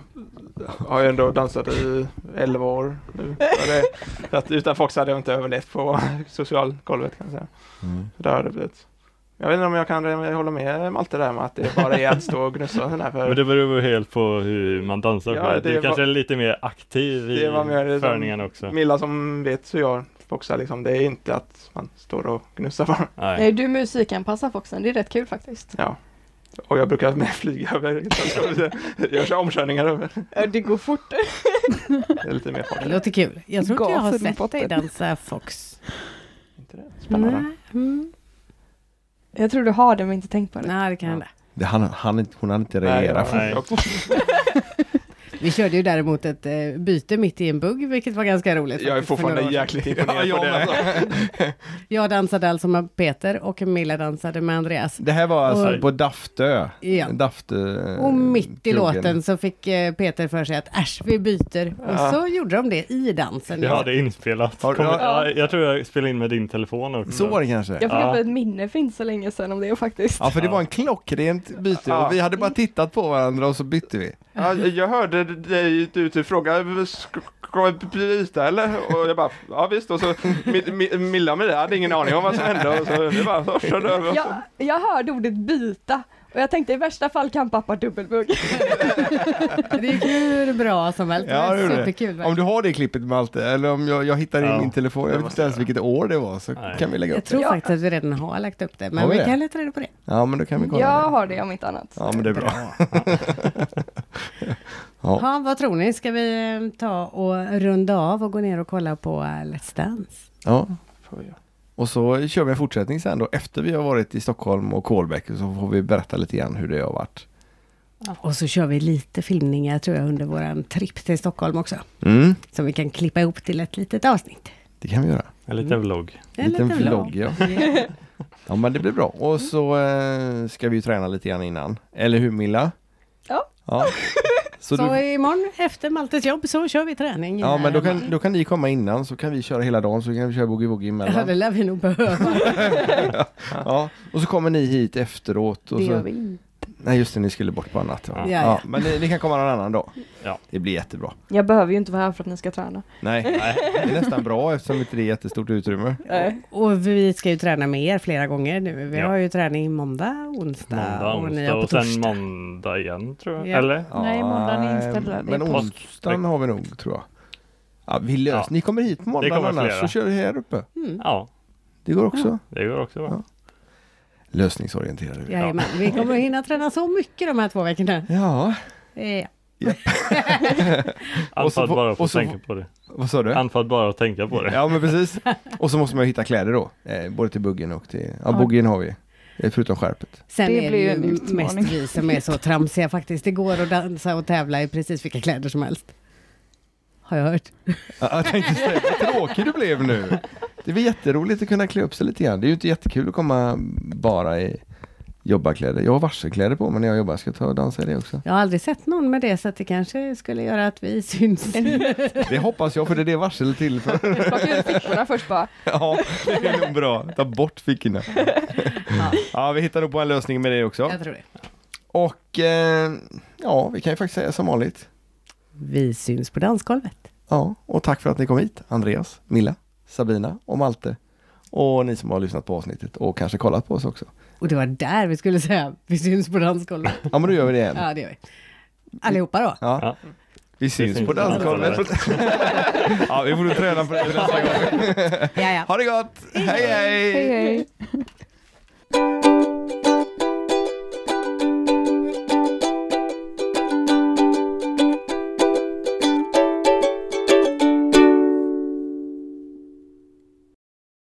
[SPEAKER 6] har ju ändå dansat i 11 år nu. Så det, så att utan Fox hade jag inte överlevt på socialgolvet kan jag säga.
[SPEAKER 2] Mm.
[SPEAKER 6] Så det har det blivit. Jag vet inte om jag kan jag håller med Malte där med att det bara är att stå och gnussa sådär för
[SPEAKER 3] Men det beror ju helt på hur man dansar
[SPEAKER 6] Ja,
[SPEAKER 3] själv.
[SPEAKER 6] det
[SPEAKER 3] Du
[SPEAKER 6] var-
[SPEAKER 3] kanske är lite mer aktiv i
[SPEAKER 6] Det var mer som-
[SPEAKER 3] förningen också.
[SPEAKER 6] Milla som vet hur jag foxar liksom, det är inte att man står och gnussar bara.
[SPEAKER 3] Nej.
[SPEAKER 5] Nej, du musikanpassar Foxen. Det är rätt kul faktiskt.
[SPEAKER 6] Ja. Och jag brukar med flyga över, jag kör omkörningar över.
[SPEAKER 5] Det går fort.
[SPEAKER 6] Det är lite mer
[SPEAKER 1] Det
[SPEAKER 6] fart.
[SPEAKER 1] låter kul. Jag tror inte jag har
[SPEAKER 4] Gasen i
[SPEAKER 1] sett dig
[SPEAKER 4] botten.
[SPEAKER 1] dansa Fox.
[SPEAKER 6] Inte det? Spännande.
[SPEAKER 1] Nej, mm.
[SPEAKER 5] Jag tror du har det men inte tänkt på det.
[SPEAKER 1] Nej, det kan
[SPEAKER 6] Ja.
[SPEAKER 1] hända.
[SPEAKER 2] Det, han, han, hon hann inte
[SPEAKER 6] Nej,
[SPEAKER 2] reagera.
[SPEAKER 6] jag-
[SPEAKER 3] Nej.
[SPEAKER 6] jag-
[SPEAKER 1] Vi körde ju däremot ett eh, byte mitt i en bugg, vilket var ganska roligt.
[SPEAKER 6] Jag är
[SPEAKER 1] faktiskt, för
[SPEAKER 6] fortfarande
[SPEAKER 1] några år sedan.
[SPEAKER 6] jäkligt imponerad på det. Alltså.
[SPEAKER 1] Jag dansade alltså med Peter och Milla dansade med Andreas.
[SPEAKER 2] Det här var alltså
[SPEAKER 3] Och-
[SPEAKER 2] på Daftö.
[SPEAKER 1] Ja.
[SPEAKER 2] Daftö
[SPEAKER 6] Mm,
[SPEAKER 1] Och mitt i låten så fick eh, Peter för sig att äsch, vi byter. Och
[SPEAKER 6] Ja.
[SPEAKER 1] så gjorde de det i dansen.
[SPEAKER 3] Jag har det inspelat.
[SPEAKER 2] Har du-
[SPEAKER 3] Kommer-
[SPEAKER 2] har-
[SPEAKER 3] ja, jag tror jag spelade in med din telefon också.
[SPEAKER 2] Så var det kanske?
[SPEAKER 5] Jag fick
[SPEAKER 3] Ja.
[SPEAKER 5] upp ett minne för inte så länge sedan om det faktiskt.
[SPEAKER 2] Ja, för det
[SPEAKER 3] Ja.
[SPEAKER 2] var en klockrent byte
[SPEAKER 6] Ja.
[SPEAKER 2] och vi hade bara tittat på varandra och så bytte vi.
[SPEAKER 6] Ja, jag hörde dig, du typ fråga sk- ska vi byta eller? Och jag bara, ja visst. Och så Mi- Mi- Milla och Mia hade ingen aning om vad som hände och så vi bara så körde över. oss.
[SPEAKER 5] Jag, jag hörde ordet byta och jag tänkte i värsta fall kan pappa dubbelbugg.
[SPEAKER 1] Det gick hur bra som helst.
[SPEAKER 2] Ja, det
[SPEAKER 1] det
[SPEAKER 2] gjorde
[SPEAKER 1] var
[SPEAKER 2] det.
[SPEAKER 1] superkul.
[SPEAKER 2] Om
[SPEAKER 1] verkligen.
[SPEAKER 2] du har det klippet Malte, eller om jag, jag hittar in
[SPEAKER 3] Ja,
[SPEAKER 2] min telefon, jag vet inte ens vilket år det var, så
[SPEAKER 3] Nej.
[SPEAKER 2] kan vi lägga upp
[SPEAKER 1] Jag tror
[SPEAKER 5] Ja.
[SPEAKER 1] faktiskt att vi redan har lagt upp det,
[SPEAKER 2] Har
[SPEAKER 1] men
[SPEAKER 2] vi
[SPEAKER 1] vi
[SPEAKER 2] det?
[SPEAKER 1] kan leta reda på det.
[SPEAKER 2] Ja men då kan vi kolla
[SPEAKER 5] Jag
[SPEAKER 2] det.
[SPEAKER 5] har det om inte annat.
[SPEAKER 2] Ja men det är bra. ja.
[SPEAKER 1] Ja, vad tror ni? Ska vi eh, ta och runda av och gå ner och kolla på eh, Let's Dance?
[SPEAKER 2] ja. Och så kör vi en fortsättning sen då efter vi har varit i Stockholm och Kolbäck så får vi berätta lite grann hur det har varit.
[SPEAKER 1] Och så kör vi lite filmningar tror jag under våran tripp till Stockholm också.
[SPEAKER 2] Mm,
[SPEAKER 1] Som vi kan klippa ihop till ett litet avsnitt.
[SPEAKER 2] det kan vi göra.
[SPEAKER 3] En liten vlogg.
[SPEAKER 1] En
[SPEAKER 2] liten
[SPEAKER 1] liten
[SPEAKER 2] vlogg ja. Ja men det blir bra. Och så eh, ska vi ju träna lite grann innan. Eller hur Milla?
[SPEAKER 5] Ja.
[SPEAKER 2] ja.
[SPEAKER 1] Så,
[SPEAKER 2] Så du,
[SPEAKER 1] imorgon efter Maltes jobb så kör vi träning.
[SPEAKER 2] ja men då
[SPEAKER 1] hemma.
[SPEAKER 2] kan, då kan ni komma innan så kan vi köra hela dagen så kan vi köra boogie-woogie
[SPEAKER 1] Ja, det
[SPEAKER 2] emellan.
[SPEAKER 1] lär vi nog behöva.
[SPEAKER 2] Ja. Och så kommer ni hit efteråt. Och
[SPEAKER 4] Det
[SPEAKER 2] så,
[SPEAKER 4] gör vi inte.
[SPEAKER 2] Nej just det, ni skulle bort på annat. Ja.
[SPEAKER 1] Ja,
[SPEAKER 2] Ja,
[SPEAKER 1] ja.
[SPEAKER 2] men ni, ni kan komma någon annan dag.
[SPEAKER 3] Ja.
[SPEAKER 2] Det blir jättebra.
[SPEAKER 5] Jag behöver ju inte vara här för att ni ska träna.
[SPEAKER 2] Nej, det är nästan bra eftersom inte det är jättestort utrymme.
[SPEAKER 5] Nej.
[SPEAKER 1] Och vi ska ju träna med er flera gånger nu. Vi
[SPEAKER 3] Ja.
[SPEAKER 1] har ju träning måndag, onsdag,
[SPEAKER 3] Måndag,
[SPEAKER 1] och ni
[SPEAKER 3] onsdag
[SPEAKER 1] har på
[SPEAKER 3] och sen
[SPEAKER 1] torsdag.
[SPEAKER 3] måndag igen tror jag.
[SPEAKER 1] Ja.
[SPEAKER 3] Eller?
[SPEAKER 4] Nej, måndagen är inställd där. Det är
[SPEAKER 2] Men
[SPEAKER 3] påsk.
[SPEAKER 2] onsdagen har vi nog tror jag. Ja, vi löser.
[SPEAKER 3] Ja.
[SPEAKER 2] Ni kommer hit på
[SPEAKER 3] Det
[SPEAKER 2] måndagen
[SPEAKER 3] kommer
[SPEAKER 2] annars
[SPEAKER 3] flera.
[SPEAKER 2] så kör vi här uppe.
[SPEAKER 1] Mm.
[SPEAKER 3] Ja,
[SPEAKER 2] Det går också.
[SPEAKER 3] det går också bra.
[SPEAKER 2] Ja. Lösningsorienterade vi.
[SPEAKER 1] Jajamän, vi kommer att hinna träna så mycket de här två veckorna.
[SPEAKER 2] Ja,
[SPEAKER 1] Eh,
[SPEAKER 2] Och så
[SPEAKER 3] Anfall
[SPEAKER 2] får-
[SPEAKER 3] bara för
[SPEAKER 2] och
[SPEAKER 3] att
[SPEAKER 2] så
[SPEAKER 3] tänka på det.
[SPEAKER 2] vad sa du?
[SPEAKER 3] Anfall bara att tänka på det.
[SPEAKER 2] Ja men precis. Och så måste man ju hitta kläder då. Eh, både till buggen och till...
[SPEAKER 1] Ja.
[SPEAKER 2] Ja, buggen har vi. Eh, Förutom skärpet.
[SPEAKER 1] Sen
[SPEAKER 4] Det
[SPEAKER 1] är det
[SPEAKER 4] blir
[SPEAKER 1] ju
[SPEAKER 4] ju en utmaning.
[SPEAKER 1] mest vi som är så tramsiga faktiskt. Det går att dansa och tävla i precis vilka kläder som helst. Har jag hört.
[SPEAKER 2] Ja, jag tänkte säga, vad tråkig du blev nu. Det var jätteroligt att kunna klä upp sig lite grann. Det är ju inte jättekul att komma bara i jobbarkläder. Jag har varselkläder på mig när jag jobbar. Jag ska ta och dansa i det också.
[SPEAKER 1] Jag har aldrig sett någon med det, så att det kanske skulle göra att vi syns.
[SPEAKER 2] Det hoppas jag, för det är det varsel är till för.
[SPEAKER 5] Plocka ur fickorna först bara.
[SPEAKER 2] Ja, det är nog bra. Ta bort fickorna.
[SPEAKER 1] Ja,
[SPEAKER 2] Ja, vi hittar nog på en lösning med det också.
[SPEAKER 1] jag tror det.
[SPEAKER 2] Och eh, ja, vi kan ju faktiskt säga som vanligt.
[SPEAKER 1] Vi syns på dansgolvet.
[SPEAKER 2] Ja, och tack för att ni kom hit, Andreas, Milla, Sabina och Malte. Och ni som har lyssnat på avsnittet och kanske kollat på oss också.
[SPEAKER 1] Och det var där vi skulle säga, vi syns på dansgolvet.
[SPEAKER 2] Ja, men då gör vi det igen.
[SPEAKER 1] Ja, det gör vi. Allihopa då.
[SPEAKER 2] Ja. Vi syns
[SPEAKER 3] syns
[SPEAKER 2] på
[SPEAKER 3] på
[SPEAKER 2] dansgolvet. ja, vi får nog träna på det nästa gång.
[SPEAKER 1] Ja, ja.
[SPEAKER 2] Ha det gott! hej! hej.
[SPEAKER 4] Hej, hej.